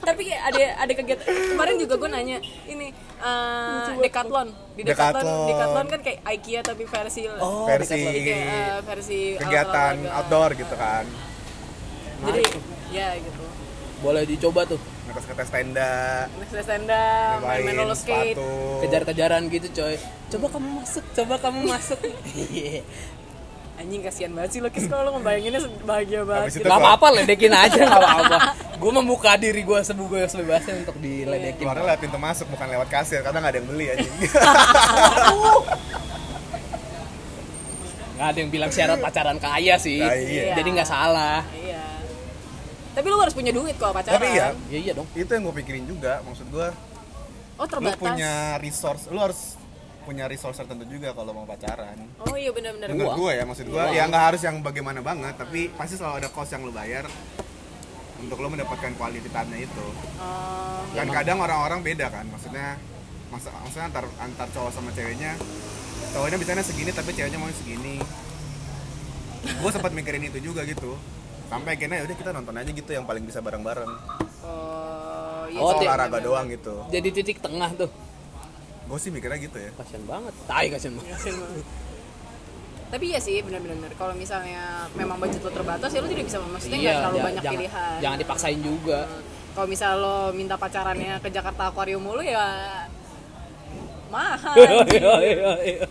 tapi kayak ada ada kegiatan kemarin juga gue nanya ini eh, Decathlon di Decathlon
Decathlon. Oh,
Decathlon kan kayak IKEA tapi versi
versi
jadi kayak eh, versi
iya. kegiatan
olahraga.
outdoor gitu kan.
jadi ya gitu
boleh dicoba tuh
Ngetes-ngetes tenda,
Next tenda, Ah,
nyobain
main-main roller skate,
sepatu.
kejar-kejaran gitu coy coba kamu masuk coba kamu masuk Iya.
anjing kasihan banget sih lo kis kalau lo ngebayanginnya se- bahagia
Habis
banget
itu
gitu.
nggak apa-apa <laughs> ledekin aja nggak apa-apa gue membuka diri gue sebuah sebebasnya untuk diledekin
Keluarnya lewat pintu masuk bukan lewat kasir karena nggak ada yang beli
<laughs>
anjing.
nggak ada yang bilang syarat pacaran kaya sih
Nah, iya.
jadi nggak salah
iya tapi lo harus punya duit kalau pacaran
Tapi ya
ya iya dong
itu yang gue pikirin juga maksud gue
oh
lu
terbatas
punya resource lu harus punya resource tertentu juga kalau mau pacaran
oh iya benar-benar
menurut
Uang.
gue ya maksud gue ya nggak harus yang bagaimana banget tapi pasti selalu ada cost yang lu bayar untuk lu mendapatkan quality time-nya itu
Oh,
dan kadang orang-orang beda kan maksudnya masa- maksudnya antar antar cowok sama ceweknya cowoknya biasanya segini tapi ceweknya mau segini gue sempat mikirin itu juga gitu sampai akhirnya yaudah kita nonton aja gitu yang paling bisa bareng-bareng
oh, iya
Oh,
Atau
ti-
olahraga doang gitu
jadi titik tengah tuh
gue sih mikirnya gitu ya
kasian banget tai kasian banget
Iya, tapi ya sih benar-benar kalau misalnya memang budget lo terbatas ya lo tidak bisa maksudnya nggak terlalu
Iya, ja-
banyak
jangan,
pilihan
jangan dipaksain juga
kalau misal lo minta pacarannya ke Jakarta Aquarium mulu ya mahal
<laughs> Iya, iya, iya.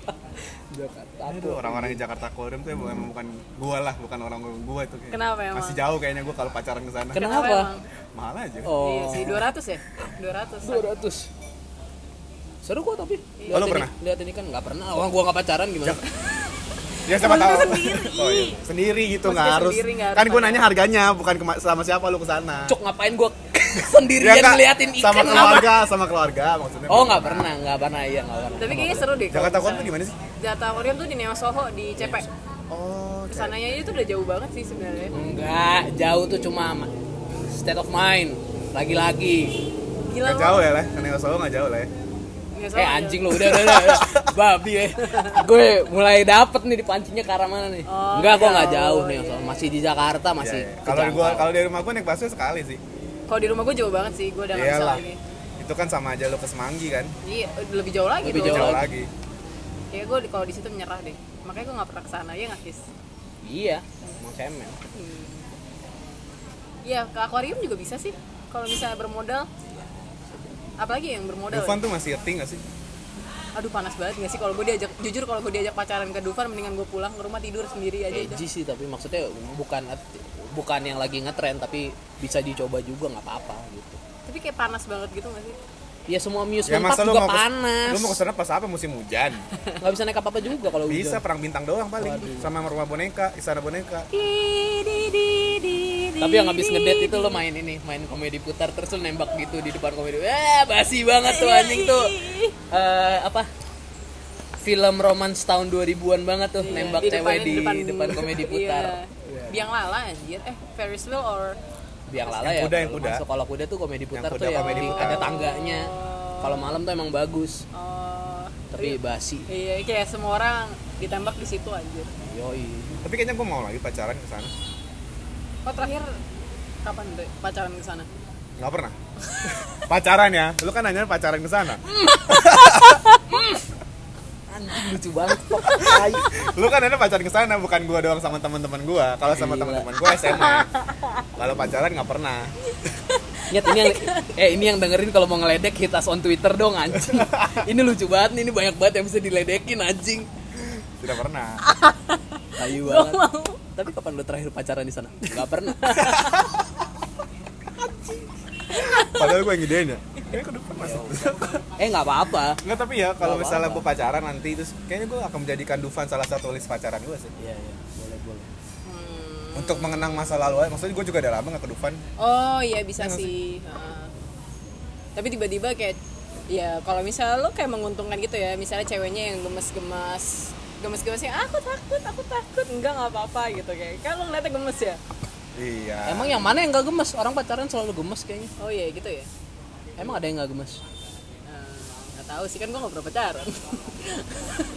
Jakarta
Aduh, orang-orang di Jakarta Aquarium tuh bukan bukan gua lah, bukan orang gua itu kayaknya.
Kenapa emang?
Masih jauh kayaknya gua kalau pacaran ke sana.
Kenapa?
emang?
Mahal aja. Oh,
Iya
oh
sih, 200 ya? 200.
dua ratus seru kok tapi
Iya.
Oh, lu
ini-
pernah?
lihat ini kan nggak pernah orang gua nggak pacaran gimana
ya siapa tahu.
sendiri.
Oh, iya. Sendiri gitu
Maksudnya
nggak harus.
sendiri, nggak harus
Kan gua
sama-
nanya harganya, bukan kema- sama siapa lu ke sana.
cok ngapain
<laughs>
gua sendirian
Kak?
ngeliatin ikan
Ya, sama
kenapa?
keluarga, sama keluarga maksudnya.
oh nggak pernah nggak pernah iya nggak pernah
Tapi kayaknya seru deh.
Jakarta Aquarium tuh di mana sih?
Jakarta Aquarium tuh di Neo Soho di CP.
Oh, oke.
Kesananya itu udah jauh banget sih sebenarnya.
Enggak, jauh tuh cuma ma- state of mind. Lagi-lagi.
Gila
Nggak
lo.
jauh ya lah, karena Solo nggak jauh lah ya.
Neo Soho
Eh
jauh.
anjing lu udah udah, udah,
<laughs>
udah. babi ya. Gue mulai dapet nih dipancingnya ke arah mana nih?
Oh,
Enggak, gua nggak
jauh,
jauh nih. soalnya Masih di Jakarta,
Iya,
masih.
iya. Kalau
kejangkau.
gua kalau dari rumah gua naik busway sekali sih.
Kalau di rumah gue jauh banget sih, gue udah nggak bisa
Iyalah.
lagi.
Itu kan sama aja lu ke Semanggi kan.
Iya, lebih jauh lagi
Lebih
tuh.
Jauh
Jauh
lagi.
Ya gue kalau di situ menyerah deh. Makanya gue nggak pernah kesana ya nggak Kis?
Iya. Mau cemen.
Iya, ke akuarium juga bisa sih. Kalau misalnya bermodal, apalagi yang bermodal.
Dufan
ya?
tuh masih ngerti nggak sih?
Aduh panas banget nggak sih kalau gue diajak jujur kalau gue diajak pacaran ke Dufan mendingan gue pulang ke rumah tidur sendiri aja. udah.
Edgy sih tapi maksudnya bukan bukan yang lagi ngetren tapi bisa dicoba juga nggak apa-apa gitu.
Tapi kayak panas banget gitu nggak sih?
Ya semua
Ya
amusement park
masa lu
juga
mau
panas.
panas. lu mau kesana pas apa musim hujan?
<laughs> Nggak bisa naik apa-apa juga kalau hujan.
Bisa perang bintang doang paling sama rumah boneka, istana boneka.
Di, di, di, di, di,
Tapi yang habis
di,
ngedate
di.
itu lo main ini, main komedi putar terus lo nembak gitu di depan komedi. Eh, basi banget tuh
Iya,
anjing tuh. Eh, apa? Film romance tahun 2000-an banget tuh nembak
Iya, Di
cewek
depan-
di depan,
<laughs> iya.
komedi putar.
Biang lala anjir. Eh, Ferris wheel or
Biang lala
Yang
ya.
kuda, yang
kalau
kuda.
masuk. Kalau kuda tuh komedi putar
kuda,
tuh yang
komedi
di-
putar.
ada tangganya. Kalau malam tuh emang bagus,
oh,
tapi basi.
Iya, kayak semua orang ditembak di situ anjir.
Yoi.
Tapi kayaknya gue mau lagi pacaran ke sana.
Kok terakhir kapan Dre, pacaran ke sana?
Gak pernah. pacaran ya? Lu kan nanya pacaran ke sana.
Anjing lucu banget. Pok.
Lu kan nanya pacaran ke sana bukan gua doang sama teman-teman gua. Kalau sama
Gila.
teman-teman gua SMA. Kalau pacaran nggak pernah.
Nyet, ini yang eh ini yang dengerin kalau mau ngeledek hit us on Twitter dong
<laughs>
anjing. Ini lucu banget nih, ini banyak banget yang bisa diledekin anjing.
Tidak pernah.
Kayu banget. Tapi kapan lu terakhir pacaran di sana? Gak pernah. Anjing.
Padahal gue yang gedein ya. Kayaknya ke depan masuk.
<laughs> eh nggak apa-apa
Enggak tapi ya kalau
Nggak
misalnya
apa-apa.
gue pacaran nanti terus kayaknya gue akan menjadikan Dufan salah satu list pacaran gue sih.
iya iya boleh boleh
Hmm.
Untuk mengenang masa lalu aja. Maksudnya gue juga udah lama gak ke Dufan.
Oh iya
Iya
bisa
nggak
sih. Heeh. Tapi tiba-tiba kayak ya kalau misalnya lo kayak menguntungkan gitu ya, misalnya ceweknya yang gemes-gemes, gemes-gemesnya "Ah, aku takut, aku takut, enggak nggak apa-apa gitu kayak. Kan lo ngeliatnya gemes ya.
Iya.
emang yang mana yang nggak gemes orang pacaran selalu gemes kayaknya
Oh iya gitu ya.
emang ada yang nggak gemes
Eh, nggak tahu sih kan gue nggak pernah pacaran.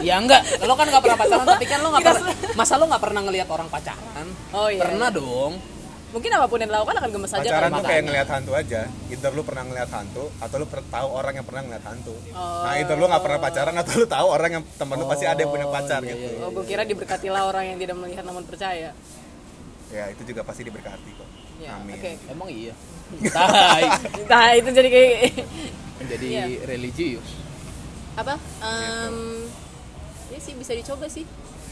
ya enggak lo kan nggak pernah pacaran tapi kan lo nggak
<laughs> Kita
pernah masa lo nggak pernah ngelihat orang pacaran
Oh iya.
pernah dong
Mungkin apapun yang dilakukan akan gemes aja
pacaran
kali,
tuh
Mak.
kayak ngelihat hantu aja. Either lu pernah ngelihat hantu atau lu per- tahu orang yang pernah ngelihat hantu.
Oh.
Nah, either lu nggak pernah pacaran atau lu tahu orang yang teman lu pasti ada yang punya pacar
iya,
gitu.
Oh, gue kira diberkatilah orang yang tidak melihat namun percaya.
iya.
Ya, itu juga pasti diberkati kok.
Ya,
Amin.
oke.
emang iya tai
Nah, itu jadi kayak
menjadi
Iya.
religius
<laughs> apa? Em, ya sih bisa dicoba <laughs> sih.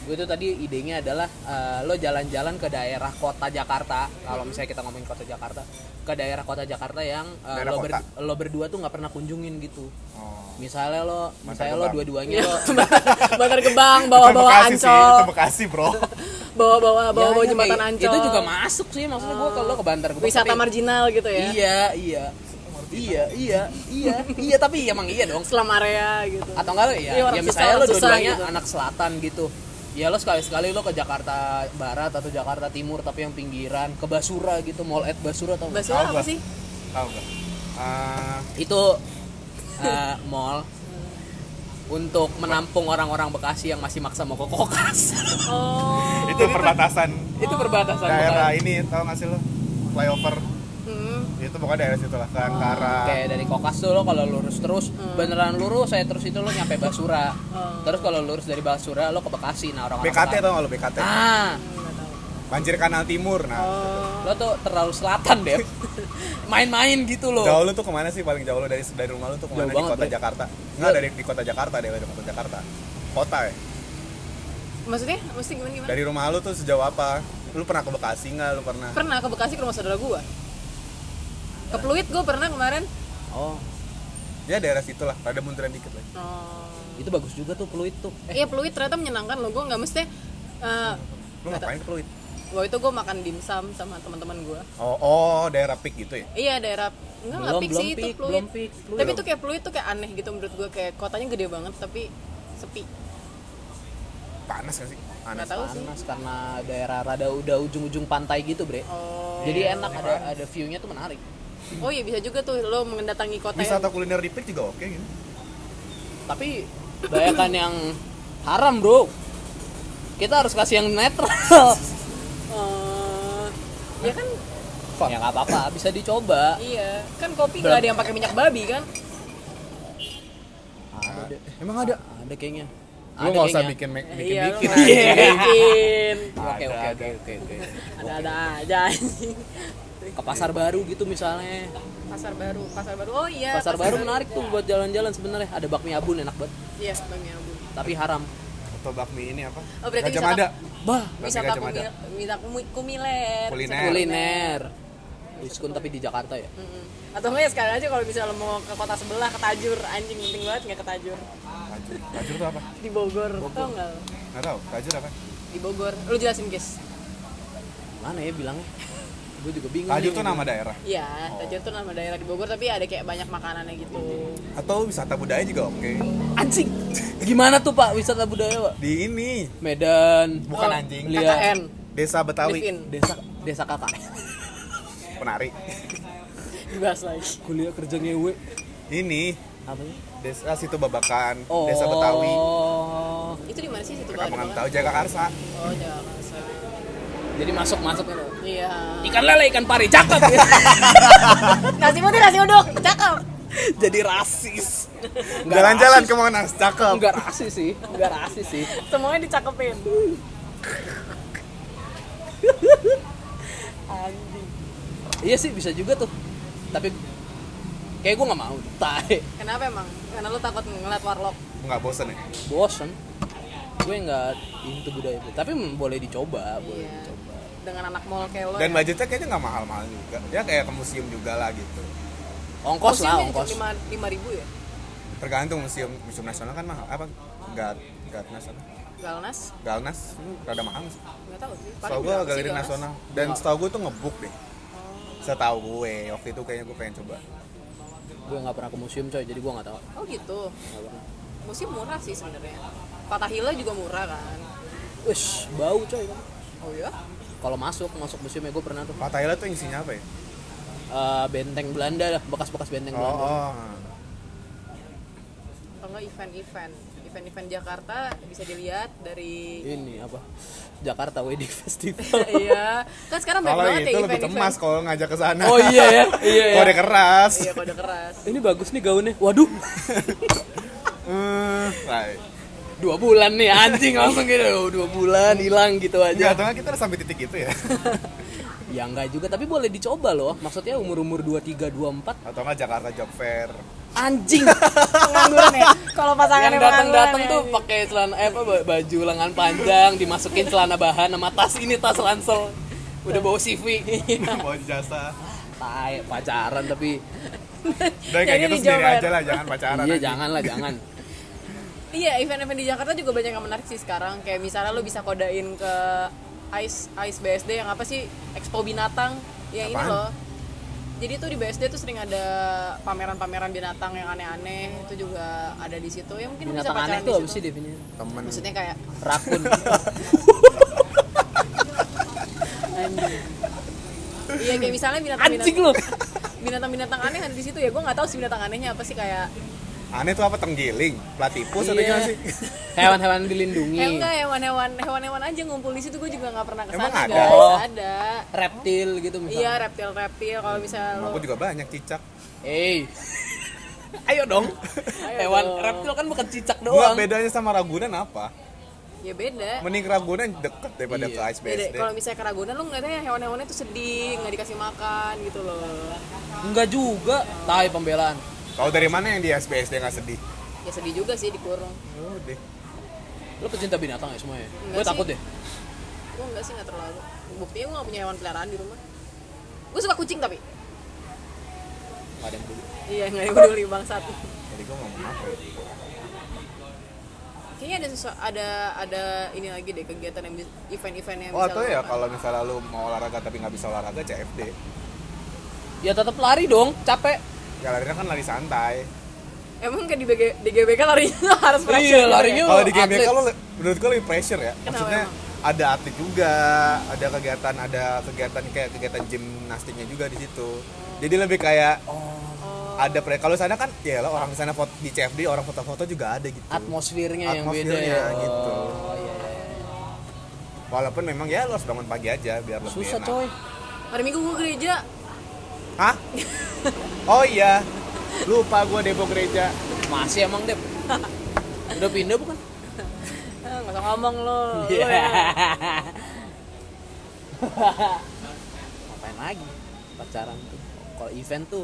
gue tuh tadi idenya adalah eh, lo jalan-jalan ke daerah kota Jakarta kalau misalnya kita ngomongin kota Jakarta ke daerah kota Jakarta yang eh,
Daerah
lo, ber-
kota.
lo berdua tuh nggak pernah kunjungin gitu
Oh.
misalnya lo misalnya lo
Gebang.
dua-duanya
Iya,
lo
Bantar Gebang,
Itu
bawa-bawa
Bekasi sih, itu
Ancol,
Bekasi,
<laughs>
Bro.
bawa-bawa
Ya,
bawa-bawa
ya,
jembatan
kayak-
Ancol.
itu juga masuk sih maksudnya gue kalau ke Bantar Gebang
wisata
tapi-
marginal gitu ya.
iya iya iya iya iya iya tapi emang iya dong
Selam area gitu.
atau enggak lo ya,
Iya, orang
ya
susah,
misalnya lo
orang susah
dua-duanya
gitu.
anak selatan gitu ya lo sekali-sekali lo ke Jakarta Barat atau Jakarta Timur tapi yang pinggiran ke Basura gitu mall at Basura tau nggak?
Basura
Tahu
apa
gua.
sih?
Tahu enggak? Ah,
itu eh, mall untuk menampung orang-orang Bekasi yang masih maksa mau ke kokas <laughs>
Oh.
itu perbatasan
itu perbatasan
daerah
Bekasi.
ini tahu nggak sih lo flyover
Hmm.
itu pokoknya daerah situ lah ke ke arah
kayak dari kokas tuh lo kalau lurus terus
Hmm.
beneran lurus saya terus itu lo nyampe Basura terus kalau lurus dari Basura lo ke Bekasi nah orang-orang
BKT
Bekasi-
tau nggak lo BKT
ah
nggak tahu.
banjir kanal timur nah
Oh.
lo tuh terlalu selatan deh main-main gitu lo
jauh lo tuh kemana sih paling jauh lo dari dari rumah lo tuh kemana
Jauh
di
banget,
kota
Bre.
Jakarta nggak dari di kota Jakarta deh dari kota Jakarta kota ya
Maksudnya, mesti gimana gimana?
dari rumah lo tuh sejauh apa lu pernah ke Bekasi nggak lu pernah
Pernah ke Bekasi ke rumah saudara gua. Ke Pluit gua pernah kemarin.
oh
ya daerah situ lah ada munduran dikit lagi
Oh.
itu bagus juga tuh peluit tuh
Iya, Pluit ternyata menyenangkan loh. Gua nggak mesti eh
lu ngapain ke Pluit
waktu itu gua makan dimsum sama teman-teman gua.
oh oh daerah pik gitu ya
Iya daerah enggak enggak
Belum,
pik
belum
sih itu
peak,
Pluit.
belum peak, Pluit.
Tapi itu kayak Pluit tuh kayak aneh gitu menurut gue kayak kotanya gede banget tapi sepi.
panas nggak sih panas
Nggak tahu sih.
panas karena daerah rada udah ujung-ujung pantai gitu bre
Oh.
jadi enak ada ada viewnya tuh menarik
Oh iya bisa juga tuh lo mendatangi kota yang
wisata kuliner di pik juga oke gitu
tapi banyakan yang haram bro kita harus kasih yang netral <laughs>
Eh, ya kan
ya nggak apa-apa bisa dicoba
iya kan kopi
Belum.
nggak ada yang pakai minyak babi kan?
ada deh.
emang ada
ada kayaknya
lu nggak usah bikin bikin
iya lo
bikin
<laughs>
masih bikin.
oke oke oke oke
Ada ada aja anjing.
ke pasar baru gitu misalnya
Pasar baru, pasar baru. Oh iya.
pasar baru menarik tuh buat jalan-jalan sebenarnya ada bakmi abun enak banget
Iya, Bang Yabu.
tapi haram
atau bakmi ini apa
Oh, berarti
Gajah
wisata-
Mada.
bah
Bakmi
Wisata
Gajah Mada.
kumil, wisata kumi- kumiler.
Kuliner.
wisata
kuliner diskon tapi di Jakarta ya
Mm-mm. Atau enggak ya sekalian aja kalau misalnya mau ke kota sebelah ke Tajur, anjing penting banget nggak ke Tajur.
Kajur. Kajur itu apa?
Di Bogor, tau nggak? lo?
Nggak tahu. Kajur apa?
Di Bogor. Lu jelasin, guys.
mana ya bilangnya gue juga bingung
Kajur
nih.
itu nama daerah.
Iya,
Oh.
Tajur tuh nama daerah di Bogor tapi ada kayak banyak makanannya gitu.
Atau wisata budaya juga oke.
anjing gimana tuh pak wisata budaya pak
Di ini
Medan
bukan
Oh,
anjing.
Beli- Iya.
KKN.
Desa
Live in.
Betawi.
desa desa kakak
Penari.
Dibahas lagi.
kuliah kerja ngewe
Ini
apa ya?
desa situ Babakan,
Oh.
desa Betawi.
Oh.
Itu di mana sih situ
Kamu nggak
Bogor?
tahu Jaga Karsa.
Oh, Jakarta.
jadi masuk masuk gitu.
Iya.
ikan lele ikan pari cakep ya.
Nasi putih, nasi uduk, cakep.
<laughs> jadi rasis
Jalan-jalan ke Monas, cakep.
enggak rasis sih enggak rasis sih
Semuanya dicakepin. <laughs> Anjing.
iya sih bisa juga tuh tapi kayak gue nggak mau tai
Kenapa emang? Karena lu takut ngeliat warlock.
Enggak bosen ya?
bosen gue nggak into budaya itu tapi mm, boleh dicoba boleh
Iya.
dicoba
Dengan anak mall kayak lo.
Dan
ya.
budgetnya kayaknya nggak mahal-mahal juga. Ya kayak ke museum juga lah gitu.
ongkos lah
Museumnya
ongkos
lima lima ribu ya
Tergantung museum museum nasional kan mahal apa? Gat Gatnas apa?
Galnas
Galnas itu rada mahal. sih.
nggak tahu sih Paling
Setahu gue
berapa sih
galeri
Galnas?
nasional dan setahu gue tuh ngebuk deh. Setahu gue waktu itu kayaknya gue pengen coba.
gue nggak pernah ke museum coy jadi gue nggak tahu
oh gitu
Nggak pernah.
musim murah sih sebenarnya Fatahila juga murah kan
Ush, bau coy
oh iya
kalau masuk masuk museumnya gue pernah tuh
Pattaya tuh isinya apa ya?
Eh, benteng Belanda lah bekas-bekas benteng
Oh,
Belanda
oh.
atau enggak event-event event-event Jakarta bisa dilihat dari
ini apa Jakarta
<laughs>
Wedding Festival
<laughs> iya kan sekarang banyak
Kalau
banget ya
itu lebih
event-event
cemas kalau ngajak ke sana.
oh iya ya iya ya.
Kode keras.
iya kode keras
ini bagus nih gaunnya waduh
Eh, right.
dua bulan nih anjing langsung gitu <laughs> dua bulan hilang gitu
Ya,
aja
atau nggak kita harus sampai titik itu ya.
ya enggak juga tapi boleh dicoba loh maksudnya umur umur dua tiga dua empat
atau nggak Jakarta Job Fair.
anjing
pengangguran ya kalau pasangan
yang datang datang tuh pakai celana eh, apa baju lengan panjang dimasukin celana bahan sama tas ini tas ransel udah bawa <laughs> CV
Mau jasa.
Tai, pacaran tapi
Udah kayak
Jadi
gitu
di
sendiri
Jabar.
aja lah, jangan pacaran.
iya
anjing.
jangan lah jangan
iya event-event di Jakarta juga banyak yang menarik sih sekarang kayak misalnya lu bisa kodain ke Ice Ice BSD yang apa sih Expo Binatang yang ini
Apaan?
loh jadi tuh di BSD tuh sering ada pameran-pameran binatang yang aneh-aneh itu juga ada di situ ya mungkin lu bisa
binatang aneh
pacaran di
tuh apa sih
situ
definisinya
Temen.
maksudnya kayak
rakun
Iya kayak misalnya binatang-binatang
<laughs> anjing lu
binatang-binatang aneh ada di situ ya gue nggak tahu sih binatang anehnya apa sih kayak
Aneh tuh apa tenggiling, platipus atau
Iya.
gimana sih?
hewan-hewan
eh,
dilindungi
enggak hewan-hewan hewan-hewan aja ngumpul di situ gue juga nggak pernah kesana
Emang ada?
guys
Oh.
ada
reptil gitu
iya
misalnya
reptil-reptil kalau misalnya lo
Aku juga banyak cicak.
hey <laughs> ayo dong hewan
dong.
reptil kan bukan cicak
Gua
doang
bedanya sama Ragunan apa?
ya beda
Mending Ragunan deket daripada
Iya.
ke Ice
beda
BSD.
kalau misalnya keragunan lo ngeliatnya hewan-hewannya tuh sedih nggak dikasih makan gitu loh
enggak juga tai pembelaan
Kalau dari mana yang di Ice BSD nggak sedih?
ya sedih juga sih dikurung
Oh, deh.
lu pecinta binatang ya semuanya
Enggak
gue
sih.
takut deh
gue enggak sih nggak terlalu buktinya gue nggak punya hewan peliharaan di rumah gue suka kucing tapi
Nggak ada yang peduli.
iya nggak peduli bangsat
Tadi gua ngomong apa ya?
kayaknya ada sesu- ada ada ini lagi deh kegiatan yang bis- event-event yang
Oh,
bisa
atau
lo
ya
lakukan.
kalau misalnya lu mau olahraga tapi nggak bisa olahraga CFD.
ya tetap lari dong capek
Ya larinya kan lari santai.
Emang kayak di, BG, di GBK larinya tuh harus
Iya,
pressure gitu
larinya-
ya?
Kalau di GBK
atlet.
kalau menurut gua lebih pressure ya.
Kenapa
Maksudnya ada atlet juga, ada kegiatan ada kegiatan kayak kegiatan gimnastiknya juga di situ. Jadi lebih kayak
Oh.
ada pre kalau sana kan ya lah orang sana foto di CFD orang foto-foto juga ada gitu.
atmosfernya, yang beda
Atmosfernya
ya
gitu.
Oh, iya, iya.
Walaupun memang ya lo harus bangun pagi aja biar lebih enak.
susah coy
Hari Minggu gue gereja
<laughs>
Hah? Oh iya. Lupa gua Depok Gereja.
masih emang <laughs> deh udah pindah bukan
Eh, Nggak usah ngomong lo lo
Iya.
ya.
<laughs> Ngapain lagi pacaran tuh? Kalau event tuh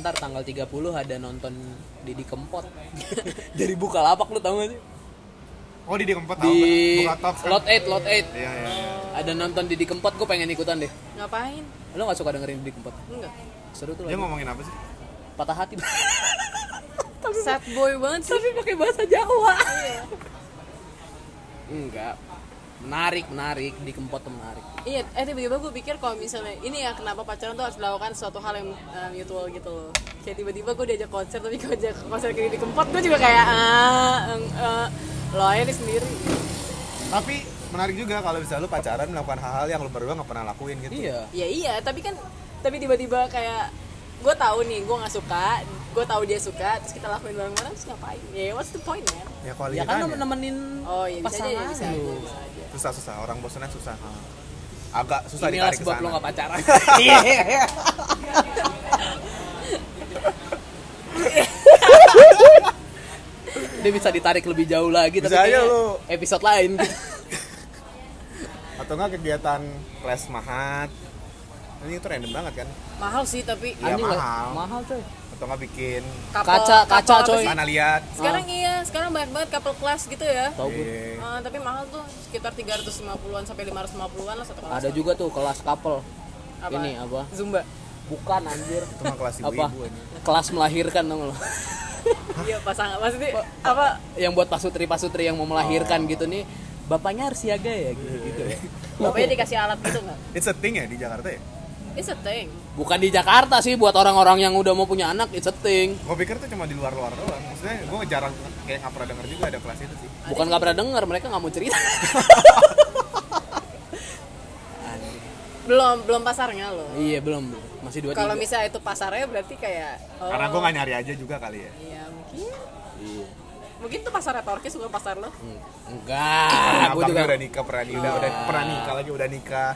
ntar tanggal 30 ada nonton Didi Kempot <laughs> dari Bukalapak lu tau gak sih?
Oh di Depok
Di
Buka Talks kan?
Lot E. 8, Lot 8
Iya iya iya.
ada nonton Didi Kempot gue pengen ikutan deh
Ngapain?
lo gak suka dengerin Didi Kempot?
Enggak
seru tuh
Dia
lagi
ngomongin apa sih?
patah hati <laughs>
Sad boy banget sih Iya.
tapi pakai bahasa Jawa enggak menarik menarik Didi Kempot tuh menarik
Iya, eh tiba-tiba gue pikir kalau misalnya ini ya kenapa pacaran tuh harus melakukan suatu hal yang eh, mutual gitu loh Kayak tiba-tiba gue diajak konser tapi gue ajak konser ke di Kempot gue juga kayak ah, eng, eh, lo aja deh sendiri
Tapi menarik juga kalau bisa lu pacaran melakukan hal-hal yang lu berdua nggak pernah lakuin gitu.
iya
Ya iya, tapi kan tapi tiba-tiba kayak gue tahu nih gue nggak suka, gue tahu dia suka, terus kita lakuin bareng-bareng terus ngapain? Ya what's the point man?
Ya kalau
ya
ya
kan lo nemenin
Oh iya bisa aja, ya,
pasangan
bisa aja,
lu.
bisa aja.
susah susah orang bosannya susah. Agak susah
Inilah
ditarik ke
sebab lo
sana.
gak
<laughs>
pacaran. Dia bisa ditarik lebih jauh lagi
Bisa aja Ya,
kayaknya
lo.
episode
<laughs>
lain.
Atau nggak kegiatan kelas mahat. Ini itu random banget kan?
Mahal sih tapi
Iya,
Anjing nggak-
mahal.
Mahal coy.
Atau nggak bikin
couple-
Kaca kaca
couple apa
coy.
sih?
mana lihat.
Sekarang iya, sekarang banyak banget couple class gitu ya.
Tau gue.
Iya.
Eh, tapi mahal tuh sekitar 350-an sampai 550-an lah satu kelas.
Ada juga tuh kelas couple.
Apa?
Ini apa?
Zumba.
bukan anjir
Itu mah kelas ibu-ibu
apa
aja.
kelas melahirkan dong lo <laughs>
iya pasangan maksudnya apa
yang buat pasutri pasutri yang mau
Oh.
melahirkan gitu nih bapaknya harus siaga ya gitu gitu
Iya.
bapaknya dikasih alat gitu nggak
It's a thing ya di Jakarta ya?
it's a thing
bukan di Jakarta sih buat orang-orang yang udah mau punya anak it's a thing
Gue pikir tuh cuma di luar-luar doang. Maksudnya gue jarang kayak nggak pernah denger juga ada kelas itu sih.
bukan nggak pernah dengar mereka nggak mau cerita
belum belum pasarnya loh
<laughs> iya belum belum. masih dua
kalau
tiga.
misalnya itu pasarnya berarti kayak oh,
Karena gue nggak nyari aja juga kali ya.
iya mungkin
Iya.
mungkin tuh pasarnya Torkis bukan pasar lo
Eng- enggak gue
Abang
Ah, juga Ah.
dia udah nikah pernah nikah, udah, udah pernah nikah lagi udah nikah.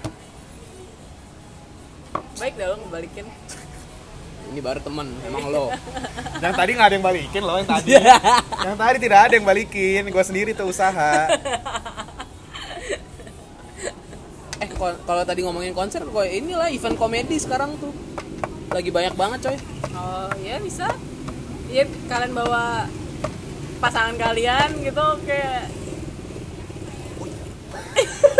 baik dah lo ngebalikin
ini baru temen emang <laughs> lo
Yang tadi nggak ada yang balikin loh yang
<laughs>
tadi. yang tadi tidak ada yang balikin, gue sendiri tuh usaha.
eh ko- kalau tadi ngomongin konser kok inilah event komedi sekarang tuh lagi banyak banget coy
oh ya bisa ya kalian bawa pasangan kalian gitu kayak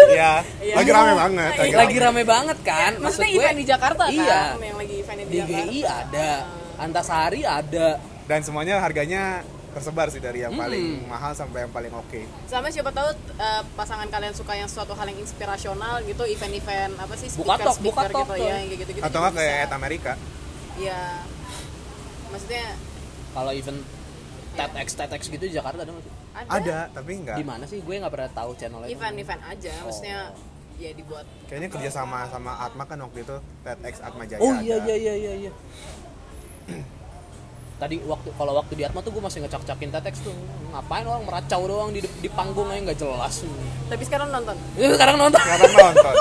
Iya.
Iya.
Lagi rame banget.
Lagi
Eh, lagi rame banget kan maksud
Iya, maksudnya
gue
event di Jakarta
iya
kan yang lagi event di,
di
Jakarta
GI ada Antasari ada
Dan semuanya harganya tersebar sih dari yang paling mahal sampai yang paling
Gitu,
oke.
sama siapa tahu eh, pasangan kalian suka yang suatu hal yang inspirasional gitu event-event apa sih
Buka
speaker
tok, buka
speaker
tok
gitu
tuh.
ya yang kayak gitu-gitu
Atau nggak kayak At Amerika?
ya maksudnya
kalau event TEDx TEDx gitu di Jakarta ada nggak sih?
ada,
Ada, tapi nggak.
Di mana sih? Gue nggak pernah tahu channelnya.
event-event aja
Oh.
maksudnya ya dibuat
Kayaknya kerja sama sama Atma kan waktu itu TEDx Atma Jaya.
Oh iya
ada.
iya iya iya. iya. <clears throat> Tadi waktu kalau waktu di Atma tuh gue masih ngecak-cakin TEDx tuh. Ngapain orang meracau doang di di panggung aja nggak jelas. <laughs>
tapi sekarang nonton
Ini sekarang nonton. <laughs>
Sekarang nonton.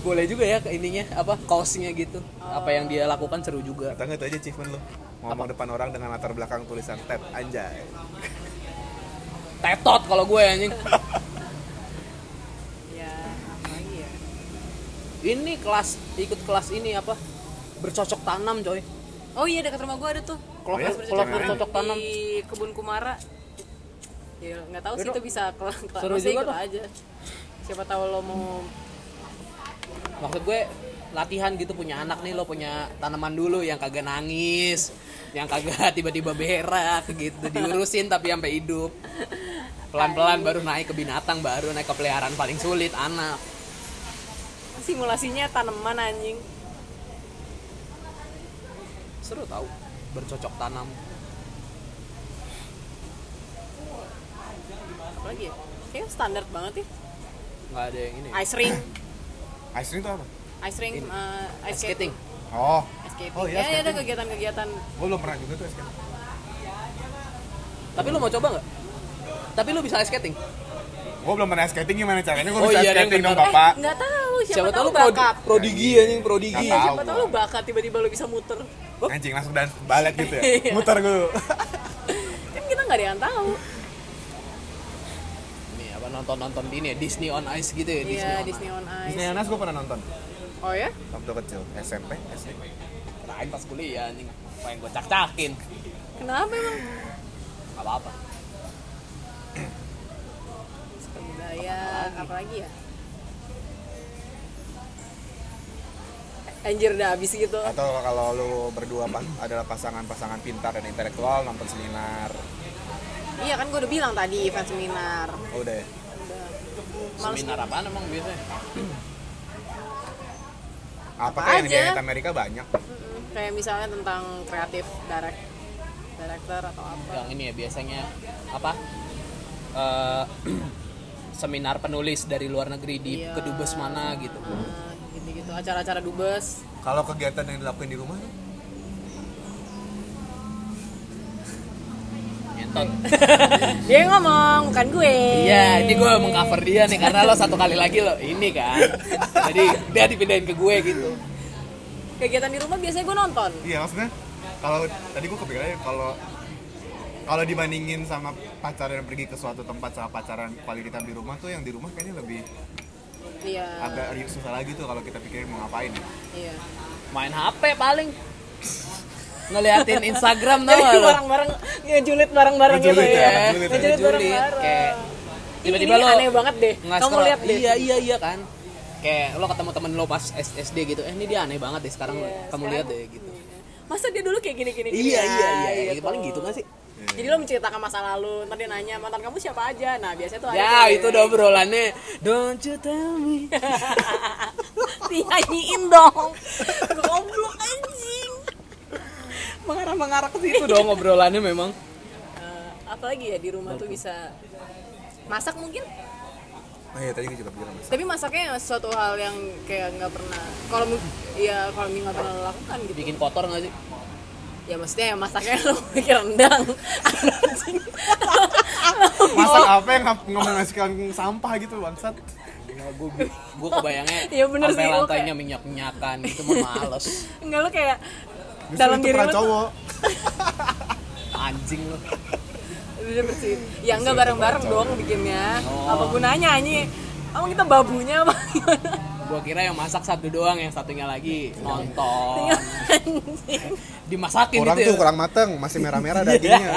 Boleh juga ya ke ininya apa kaosnya gitu. Apa yang dia lakukan seru juga.
Tangga itu aja achievement lu. Ngomong depan orang dengan latar belakang tulisan TED anjay.
Tetot kalau gue anjing.
ya apa lagi ya
Ini kelas ikut kelas ini apa? Bercocok tanam coy.
oh iya dekat rumah gua ada tuh
Oh
Kalau
iya?
kalau bercocok tanam
di kebun kumara ya nggak tahu sih
Yaudah.
itu bisa kelar kelar
Seru
masih
juga
ikut
tuh.
aja siapa tahu lo mau
maksud gue latihan gitu punya anak nih lo punya tanaman dulu yang kagak nangis yang kagak <laughs> tiba-tiba berak gitu diurusin tapi sampai hidup pelan-pelan baru naik ke binatang baru naik ke peliharaan paling sulit anak
simulasinya tanaman anjing
seru tau bercocok tanam
apa lagi ya kayaknya standar banget ya
nggak ada yang ini ya.
ice ring
Ice cream itu apa?
ice ring eh,
Ini.
ice
ice skating
skating
Oh,
ice skating
Oh, iya,
ya, ya ada
skating.
kegiatan-kegiatan
gue belum pernah juga tuh ice cream.
tapi lo mau coba nggak tapi lo bisa ice skating
Gue belum pernah ice skating gimana caranya? Gue
Oh
bisa
iya,
ice skating
yang
dong
bener.
bapak.
Eh, nggak tahu siapa,
siapa,
tahu
tahu lo prodi-
bakat
prodigi anjing prodigi
Nggak tahu.
siapa tahu lo bakat tiba-tiba lo bisa muter Wah,
Anjing langsung dan balet gitu
<laughs>
ya.
Iya.
Muter gue.
kan kita nggak ada yang tahu
ini apa nonton nonton ini ya Disney on Ice gitu ya Disney,
iya
on
Disney
Ice
on
Disney
Ice
Anas gue pernah nonton
oh ya
waktu kecil SMP SD.
Kirain pas kuliah anjing main gue cak-cakin
kenapa emang
nggak apa-apa
kebudayaan apa lagi ya anjir udah habis gitu
Atau kalau lu berdua pas, adalah pasangan-pasangan pintar dan intelektual nonton seminar.
iya kan gue udah bilang tadi event seminar
Oh, udah ya.
udah males
seminar apaan emang biasanya
Apa,
Apa
kayak yang
aja?
di At Amerika banyak?
Mm-mm. kayak misalnya tentang kreatif direct director atau apa
yang ini ya biasanya apa <clears throat> eh, <clears throat> seminar penulis dari luar negeri di
Iya.
kedubes mana gitu
Nah, gitu-gitu acara-acara dubes
Kalau kegiatan yang dilakuin di rumah
nyentot
Eh, dia yang ngomong bukan gue
iya ini gue mengcover dia nih karena lo satu kali lagi lo ini kan
<laughs>
jadi dia dipindahin ke gue gitu
kegiatan di rumah biasanya gue nonton
Iya maksudnya kalau tadi gue kepikirannya kalau kalau dibandingin sama pacaran yang pergi ke suatu tempat sama pacaran quality time di rumah tuh yang di rumah kayaknya lebih
iya
agak ri- susah lagi tuh kalau kita pikirin mau ngapain.
iya
main hp paling ngeliatin Instagram tau
<laughs>
gak
jadi
lo
bareng-bareng ngejulit bareng-bareng gitu
Ngejulit ya,
ya
ngejulit ya.
ngejulit
Ngejulit,
bareng-bareng
kayak
ini
tiba-tiba lo
aneh banget deh kamu
nge-scroll.
lihat deh
iya iya iya kan kayak lo ketemu temen lo pas SD gitu eh ini dia aneh banget deh sekarang
Iya,
kamu
sekarang-
lihat deh gitu
Iya. Masa dia dulu kayak gini-gini gitu ya?
iya iya iya, paling gitu kan sih
Jadi lo menceritakan masa lalu, ntar dia nanya mantan kamu siapa aja. Nah, biasanya tuh ada
ya
tuh
itu
<laughs>
udah obrolannya don't you tell me
Dinyanyiin dong. Goblok anjing.
<laughs> mengarah-mengarah ke situ <laughs> dong obrolannya memang
Eh, apalagi ya di rumah tuh bisa masak mungkin
Oh iya tadi gue juga
<laughs>
bilang
tapi masaknya suatu hal yang kayak nggak pernah kalau mu- ya kalau nggak pernah lo lakukan gitu
bikin kotor nggak sih
ya maksudnya ya masaknya <laughs> lo bikin rendang <laughs> Anjing.
Masak apa yang nggak nggak menghasilkan sampah gitu bangsat.
<laughs> gue kebayangnya
Iya, bener
sampai
sih, lo
lantainya minyak minyakan itu mah <laughs> males
Enggak lo kayak
Justru
dalam
itu
diri
peran
lo tuh
cowok.
anjing lo
Udah bersih. Ya enggak bareng-bareng dong bikinnya.
Oh.
Apa gunanya anjing? Emang kita babunya apa <laughs> gimana?
gue kira yang masak satu doang yang satunya lagi nonton
Anjing.
dimasakin
Kurang
gitu
tuh
ya.
kurang mateng, masih merah-merah dagingnya.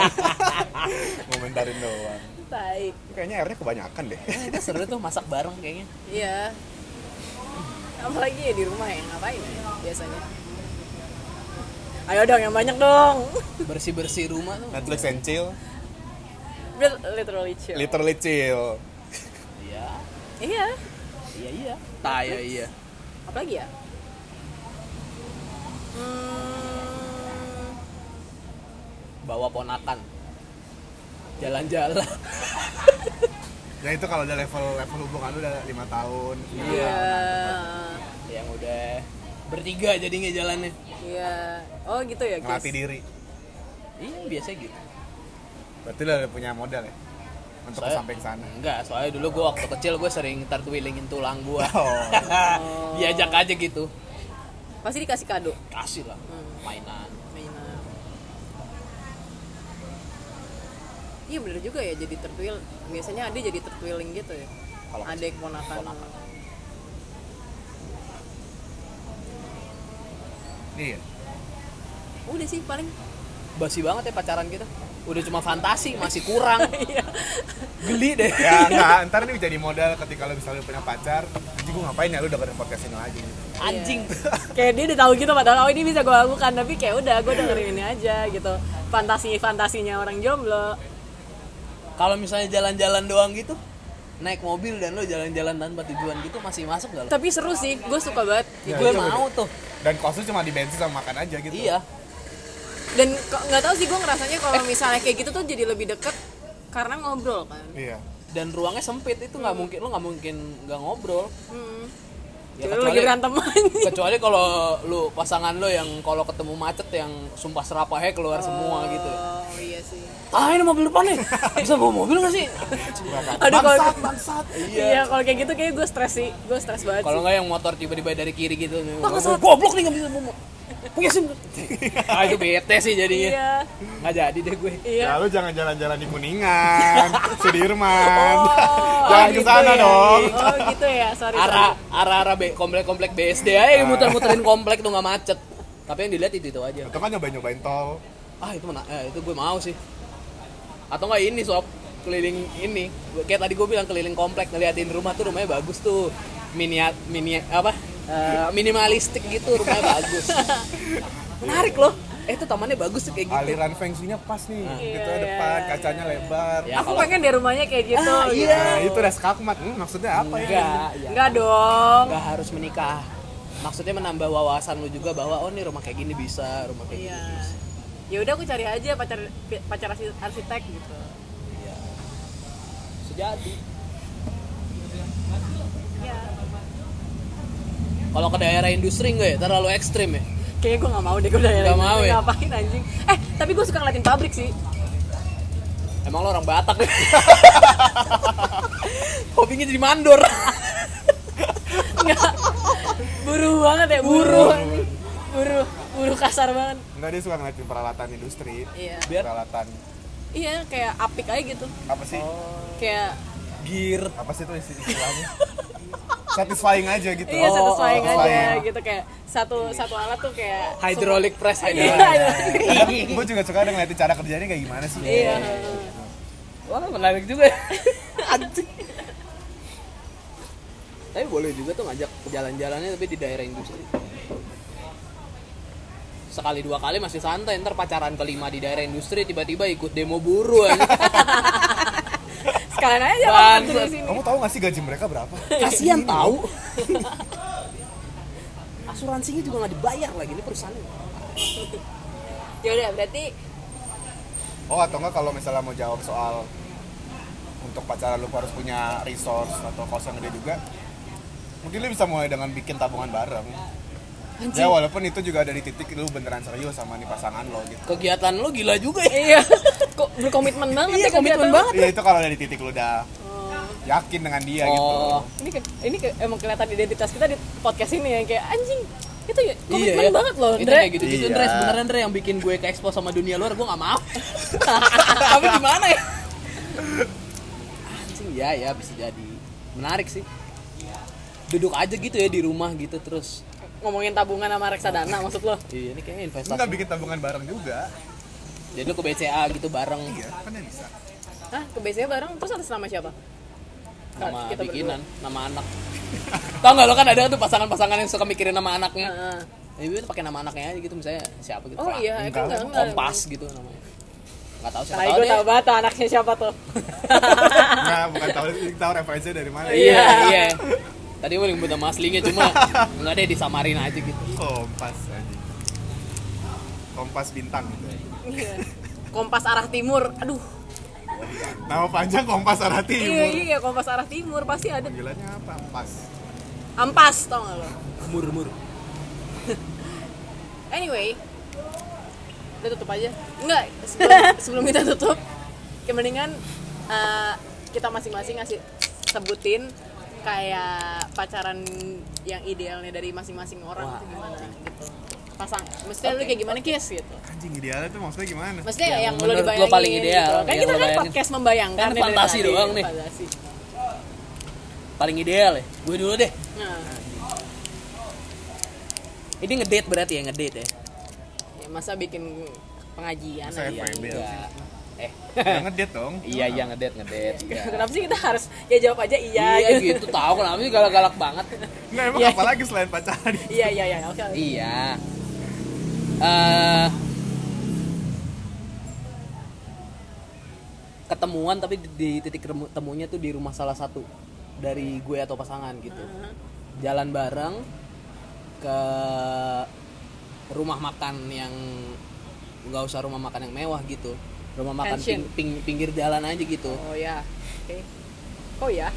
Komentarin doang.
Tai.
Kayaknya airnya kebanyakan deh.
Eh, itu seru tuh masak bareng kayaknya
Iya. Apalagi ya di rumah ya ngapain ya biasanya? Ayo dong yang banyak dong.
bersih bersih rumah tuh
Netflix and chill,
Ber- Literally chill.
literally chill.
iya
Iya.
iya iya taya iya
Apalagi ya? Hmm,
bawa ponakan jalan-jalan
Ya itu kalau udah level level hubungan lu udah 5 tahun.
Iya.
yang udah bertiga jadinya jalannya
Iya. Oh gitu ya, guys.
Ngelatih diri.
iya biasa gitu
Berarti lu udah punya modal ya untuk
Saya-
sampai ke sana.
enggak soalnya dulu gue waktu kecil gue sering ntar twillingin tulang gue
Oh.
<laughs> diajak aja gitu
Pasti dikasih kado. Hmm,
kasih lah mainan
mainan. Iya bener juga ya jadi tertwil. Biasanya ada jadi tertwiling gitu ya.
Kalau
Ada yang ponakan.
Iya.
Udah sih paling.
basi banget ya pacaran kita udah cuma fantasi
<laughs>
masih kurang
Iya.
geli deh
Ya enggak, <laughs> ntar ini jadi modal ketika lu misalnya punya pacar, jadi gue ngapain ya lu dengerin podcast ini lagi.
anjing
kayak dia udah tahu gitu padahal oh ini bisa gue lakukan tapi kayak udah gue dengerin ini aja gitu. Fantasi fantasinya orang jomblo.
kalau misalnya jalan-jalan doang gitu naik mobil dan lo jalan-jalan tanpa tujuan gitu masih masuk gak lo?
Tapi seru sih, gue suka banget.
Ya,
gue
iya,
mau tuh
Dan kosnya cuma di bensin sama makan aja gitu.
iya
Dan kok- nggak tahu sih gue ngerasanya kalau misalnya kayak gitu tuh jadi lebih deket karena ngobrol kan.
Iya.
Ya. dan ruangnya sempit itu nggak mungkin lo nggak mungkin nggak ngobrol
Hmm. Jadi
Ya,
lu lagi
kecuali- <laughs>
berantem aja.
kecuali kalau lu pasangan lo yang kalau ketemu macet yang sumpah serapahnya keluar semua gitu
Oh iya sih.
ah ini mobil depan nih bisa bawa mobil gak sih
Aduh kalau
bangsat.
iya. kalau kayak gitu kayak gue stres sih, gue stres banget sih.
kalau nggak yang motor tiba-tiba dari kiri gitu nih,
Bangsat.
goblok nih nggak bisa bawa punya sim ah itu bete sih jadinya
Iya,
nggak jadi deh gue
iya.
Lalu Ya, jangan jalan-jalan di Kuningan, Sudirman. jangan
gitu
ke sana
ya.
dong.
Oh gitu ya, sorry.
arah arah arah be- komplek komplek BSD aja muter-muterin komplek tuh nggak macet tapi yang dilihat itu itu aja
Atau kan nyobain-nyobain tol.
ah itu mana eh, itu gue mau sih atau nggak ini sob keliling ini Gue- kayak tadi gue bilang keliling komplek ngeliatin rumah tuh rumahnya bagus tuh miniat mini apa eh, minimalistik gitu rumahnya <laughs> bagus menarik loh eh itu tamannya bagus tuh kayak gitu
Aliran feng shui-nya pas nih. gitu
Iya,
depan,
iya,
kacanya lebar.
sorry.
Ya,
Aku
kalau-
pengen deh rumahnya kayak gitu.
Ah,
gitu.
iya.
Nah, itu res kakmat. Hmm, maksudnya apa ya?
enggak ya.
Enggak dong.
enggak harus menikah maksudnya menambah wawasan lu juga bahwa oh nih rumah kayak gini bisa rumah kayak
Iya.
gini bisa
Ya udah aku cari aja pacar pacar arsi- arsitek gitu.
Iya. sejati
Iya.
kalau ke daerah industri enggak ya terlalu ekstrim ya
Kayaknya gue gak mau deh, gue udah
Nggak mau ya?
ngapain anjing Eh, tapi gue suka ngeliatin pabrik sih
Emang lo orang Batak <laughs> ya? Hobinya jadi mandor. <laughs>
Enggak Buruh banget ya, buruh anjing. Buruh, buruh kasar banget
Enggak dia suka ngeliatin peralatan industri.
Iya
Biar-
Peralatan
Iya, kayak apik aja gitu
apa sih?
Kayak
Gear.
Apa sih itu isti- istilahnya? Satisfying aja gitu.
Iya satu
Oh,
slang
oh,
aja
slang.
gitu kayak satu satu alat tuh kayak
Hydraulic
<laughs>
press
Iya.
hydraulic.
gue juga suka ada ngeliatin cara kerjanya kayak gimana sih.
Iya.
Wah, menarik juga. ya. Anjing. tapi boleh juga tuh ngajak jalan-jalannya tapi di daerah industri sekali dua kali masih santai ntar pacaran kelima di daerah industri tiba-tiba ikut demo buruh anjing.
sekalian aja jalan
Bangsat.
dari sini
Kamu tahu nggak sih gaji mereka berapa?
<laughs> kasihan <laughs> tahu asuransinya juga nggak dibayar lagi ini perusahaan
ya udah berarti
Oh atau enggak kalau misalnya mau jawab soal untuk pacaran lu harus punya resource atau kos yang gede juga mungkin lu bisa mulai dengan bikin tabungan bareng ya walaupun itu juga ada di titik lu beneran serius sama nih pasangan lo gitu
kegiatan lo gila juga ya
iya <laughs> kok berkomitmen banget
iya
ya
komitmen
kelihatan.
banget
iya itu kalau ada di titik lu udah yakin dengan dia gitu
Oh.
ini ke- ini ke- emang kelihatan identitas kita di podcast ini ya kayak anjing itu ya komitmen
iya, ya.
banget loh
Itu
Ndre
kayak gitu-gitu,
Iya.
Dre. Sebenarnya Dre yang bikin gue ke expo sama dunia luar, gue gak
<laughs>
mau. Tapi gimana ya? Anjing, ya ya bisa jadi. Menarik sih. Duduk aja gitu ya di rumah gitu terus.
ngomongin tabungan sama reksadana maksud lo
Iya, ini kayaknya investasi.
Enggak bikin tabungan bareng juga.
Jadi lu ke BCA gitu bareng
Iya, kan ya bisa.
Hah, ke BC bareng terus atas nama siapa
nama
Kita berdua.
bikinan, nama anak. Tau gak lo kan ada tuh pasangan-pasangan yang suka mikirin nama anaknya.
Heeh.
Ya, itu pakai nama anaknya aja gitu misalnya siapa gitu.
oh
Fra-
iya
enggak.
kan enggak enggak
Kompas gitu namanya. Gak tahu siapa
Tai
tahu
gue
deh.
tau banget tuh anaknya siapa
<laughs>
tuh
Nah, bukan tahu tahu referensinya dari mana.
Iya,
Iya.
iya. Tadi mau nyebut nama aslinya cuma nggak deh disamarin aja gitu.
Kompas aja. Kompas bintang gitu.
Iya. Kompas arah timur aduh
Nama panjang Kompas Arah
iya
Timur.
iya Kompas arah timur pasti ada
Panggilannya apa? Pas.
ampas tau gak lo
Mur-mur.
Anyway, udah tutup aja. Enggak, sebelum, sebelum kita tutup, ya mendingan eh, kita masing-masing ngasih sebutin kayak pacaran yang idealnya dari masing-masing orang
Wah,
tuh gimana gitu. Pasang, mestinya lu kayak gimana kiss gitu.
Anjing idealnya tuh maksudnya gimana?
Maksudnya
Yang
yang, lo
menurut lo
dibayangin
paling ideal,
gitu. Kan
yang
kita
lo
kan
bayangin.
podcast membayangkan
Kan
nih dari
fantasi
tadi,
doang nih.
Fantasi.
Paling ideal ya. Gue dulu deh.
Nah,
Ini ngedate berarti ya ngedate ya.
ya masa bikin pengajian
Masa
aja.
FWB?
Iya. Eh. <laughs>
Jangan ngedit dong.
Iya iya ngedate ngedate. Iya.
<laughs> Kenapa sih kita harus ya jawab aja iya,
Iya
gitu.
gitu tahu kenapa sih galak-galak banget.
Nggak emang
Iya.
apa lagi selain pacaran?
Iya iya iya oke. oke.
Iya. Eh ketemuan tapi di- di titik remu- temunya tuh di rumah salah satu dari gue atau pasangan gitu. Jalan bareng ke rumah makan yang nggak usah rumah makan yang mewah gitu. Rumah makan
Pension.
ping- ping- pinggir jalan aja gitu.
Oh ya, oke. Oh ya,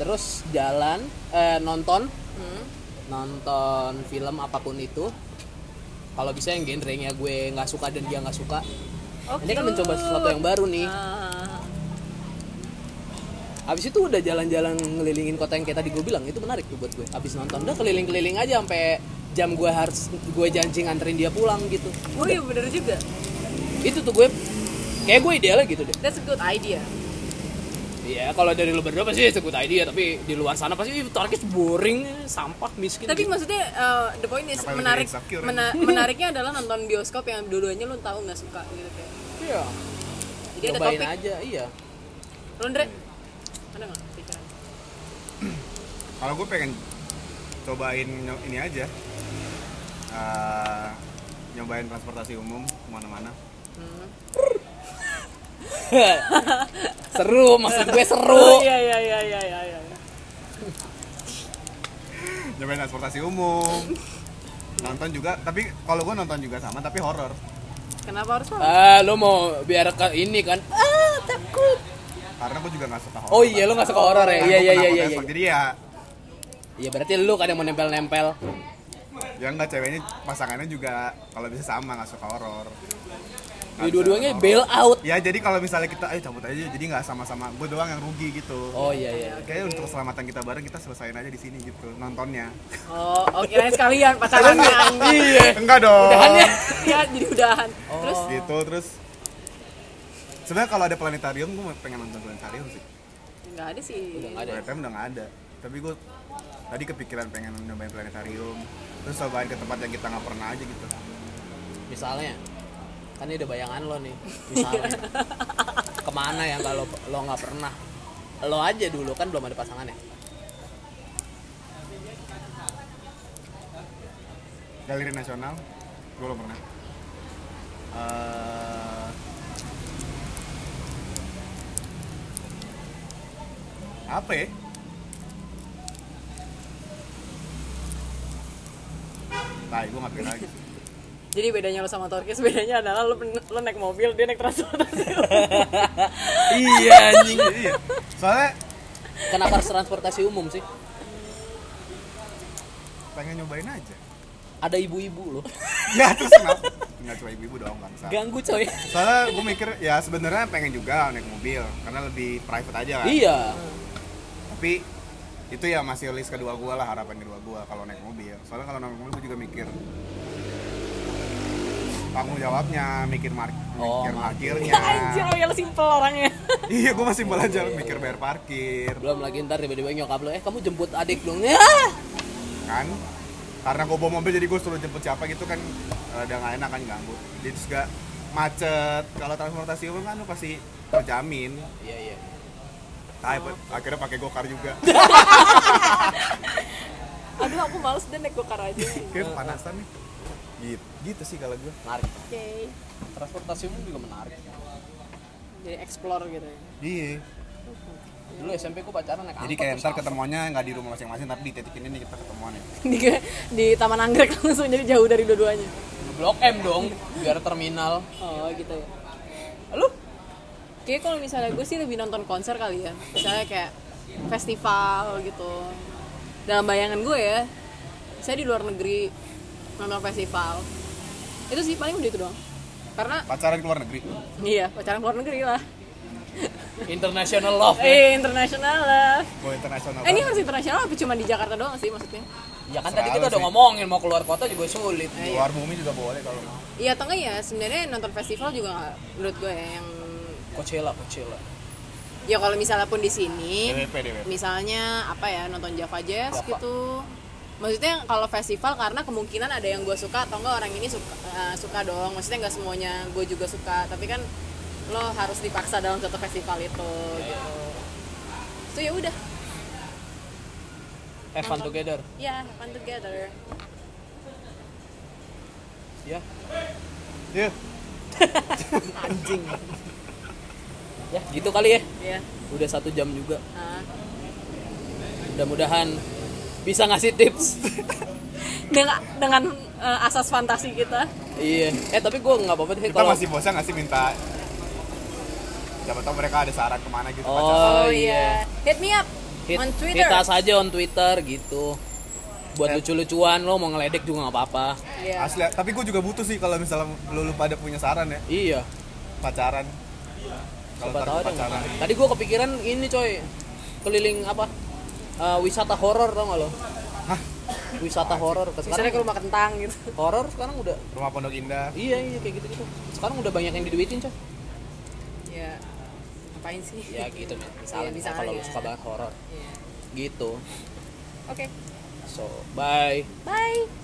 Terus jalan eh, nonton
hmm.
nonton film apapun itu kalau bisa yang genrenya gue nggak suka dan dia nggak suka
oke.
ini kan mencoba sesuatu yang baru nih
Ah.
habis itu udah jalan-jalan ngelilingin kota yang kayak tadi gue bilang itu menarik tuh buat gue habis nonton udah keliling-keliling aja sampai jam gue harus gue janji nganterin dia pulang gitu
Oh iya bener juga.
itu tuh gue kayak gue idealnya gitu deh
That's a good idea.
Iya, kalau dari lu berdua pasti ikut idea, tapi di luar sana pasti "Ih, target boring, sampah, miskin. gitu.
Tapi maksudnya uh, the point is
Apa yang
menarik
bikin insecure,
<laughs>
mena- menariknya adalah nonton bioskop yang dua-duanya lu tahu nggak suka gitu kayak.
iya,
Jadi ada
cobain
topik.
aja, Hmm. iya.
Lu Andre, ada nggak pikiran?
Kalau gue pengen cobain ny- ini aja, Eh, nyobain transportasi umum kemana-mana.
seru, maksud gue seru.
Oh iya iya iya iya iya. iya.
Nyobain transportasi umum. nonton juga, tapi kalau gue nonton juga sama, tapi horor.
Kenapa harus horor?
Ah, lo mau biar ke ini kan? Ah, takut.
Karena gue juga nggak suka horor.
Oh iya, lo nggak suka horor ya?
Karena
Iya
gua
iya iya
penakut
iya.
esok.
iya.
Jadi ya,
Iya berarti lo kan yang mau nempel-nempel.
ya nggak ceweknya pasangannya juga kalau bisa sama nggak suka horor. Nggak
Di
bisa
dua-duanya
horor.
bail out.
Ya jadi kalau misalnya kita, ayo cabut aja, jadi nggak sama-sama. Gue doang yang rugi gitu.
Oh iya iya.
Kayaknya untuk keselamatan kita bareng kita selesain aja di sini gitu nontonnya.
Oh, oke lain sekalian pacarannya anjing. <laughs>
Iya.
<laughs> Enggak dong.
ya <laughs> jadi udahan.
Oh.
Terus
Gitu terus sebenarnya kalau ada planetarium gue pengen nonton planetarium sih.
nggak ada sih.
Udah nggak ada.
Planetarium udah nggak ada. Tapi gue tadi kepikiran pengen nyobain planetarium. Terus cobain ke tempat yang kita nggak pernah aja gitu.
Misalnya, kan ini udah bayangan lo nih. Misalnya, ya ya? kemana yang kalau lo nggak pernah? Lo aja dulu kan belum ada pasangannya.
Galeri Nasional gue belum pernah Eh, apa ya Nah, gue nggak pikir lagi.
Jadi bedanya lo sama Torkis bedanya adalah lo, pen- lo naik mobil, dia naik transportasi.
iya anjing. Iya. Soalnya
Kenapa harus transportasi umum sih?
pengen nyobain aja.
Ada ibu-ibu loh.
Ya terus kenapa? Nggak cuma ibu-ibu dong bangsa.
Ganggu coy.
Soalnya gue mikir ya sebenarnya pengen juga naik mobil karena lebih private aja kan.
iya.
Tapi itu ya masih list kedua gue lah harapan kedua gue kalau naik mobil. Soalnya kalau naik mobil gue juga mikir tanggung jawabnya, mikir mark,
Oh,
mikir
parkir.
<laughs> parkirnya.
Anjir, lo ya simple orangnya.
iya, gue masih belajar mikir bayar parkir.
Belum lagi ntar tiba-tiba nyokap lo, eh kamu jemput adik dong. Ah!
kan karena gue bawa mobil jadi gue suruh jemput siapa gitu kan ada nggak enak kan ganggu jadi terus gak macet kalau transportasi umum kan lu pasti terjamin
Iya iya.
Tai, akhirnya pakai gokar <laughs> juga
Aduh, aku males deh naik gokar aja. Oke.
kayak panasan nih gitu gitu sih kalau gue
Menarik. Transportasi umum juga menarik.
Jadi explore gitu ya. <laughs>
iya
Dulu SMP ku pacaran naik
jadi
angkot
kayak
tuh,
ntar
sama.
ketemuannya nggak di rumah masing-masing tapi di titik ini nih kita ketemuan ya
di, di Taman Anggrek langsung jadi jauh dari dua-duanya.
Blok M dong, biar terminal.
Oh, gitu ya.
Lu
Kayaknya kalau misalnya gue sih lebih nonton konser kali ya. Misalnya kayak festival gitu. Dalam bayangan gue ya, saya di luar negeri nonton festival. Itu sih paling udah itu doang. Karena
pacaran ke luar negeri
iya, pacaran luar negeri lah.
international love. ya.
Eh, internasional lah.
gue internasional
Eh, ini
banget.
harus internasional apa cuma di Jakarta doang sih maksudnya?
Ya kan tadi kita
Selalu
udah
sih.
ngomongin mau keluar kota juga sulit.
luar bumi juga boleh kalau mau.
Iya atau enggak ya, sebenarnya nonton festival juga nggak- menurut gue ya, yang
Coachella, Coachella.
ya kalau misalnya pun di sini
DWP DWP
misalnya apa ya nonton Java Jazz
Java.
gitu maksudnya kalau festival karena kemungkinan ada yang gue suka atau enggak orang ini suka, eh, suka dong maksudnya nggak semuanya gue juga suka tapi kan lo harus dipaksa dalam satu festival itu
Iya,
gitu so ya udah
Have fun together.
ya yeah, fun together
Ya.
iya
Anjing. ya, gitu kali ya.
ya
Udah satu jam juga.
Ah.
Mudah-mudahan bisa ngasih tips.
dengan dengan eh, asas fantasi kita
iya. Eh tapi gue nggak apa-apa deh
kita
kalau.
masih bosan nggak sih minta siapa tau mereka ada saran kemana gitu pacaran.
Oh, iya.
hit me up
Hit,
on
hit
Twitter
us aja on Twitter gitu.
Eh.
Buat lucu-lucuan lo mau ngeledek juga nggak apa-apa.
Iya.
Asli, tapi gue juga butuh sih kalau misalnya lu, lu pada punya saran ya
Iya.
pacaran. Kalau
Siapa
ntar
tahu
gua
ada yang
pacaran.
menarik. Tadi gue kepikiran ini coy keliling apa Eh, wisata horor tau gak lo?
Hah?
Wisata horor.
misalnya ke
Sekarang
rumah kentang gitu
horor sekarang udah
Rumah Pondok Indah.
iya iya kayak gitu gitu. Sekarang udah banyak yang diduitin coy.
ya ngapain sih
Ya gitu men. Misalnya ya.
Iya,
kita kalau lo
misalnya.
suka banget horor
Iya.
gitu.
Oke,
So bye.
bye.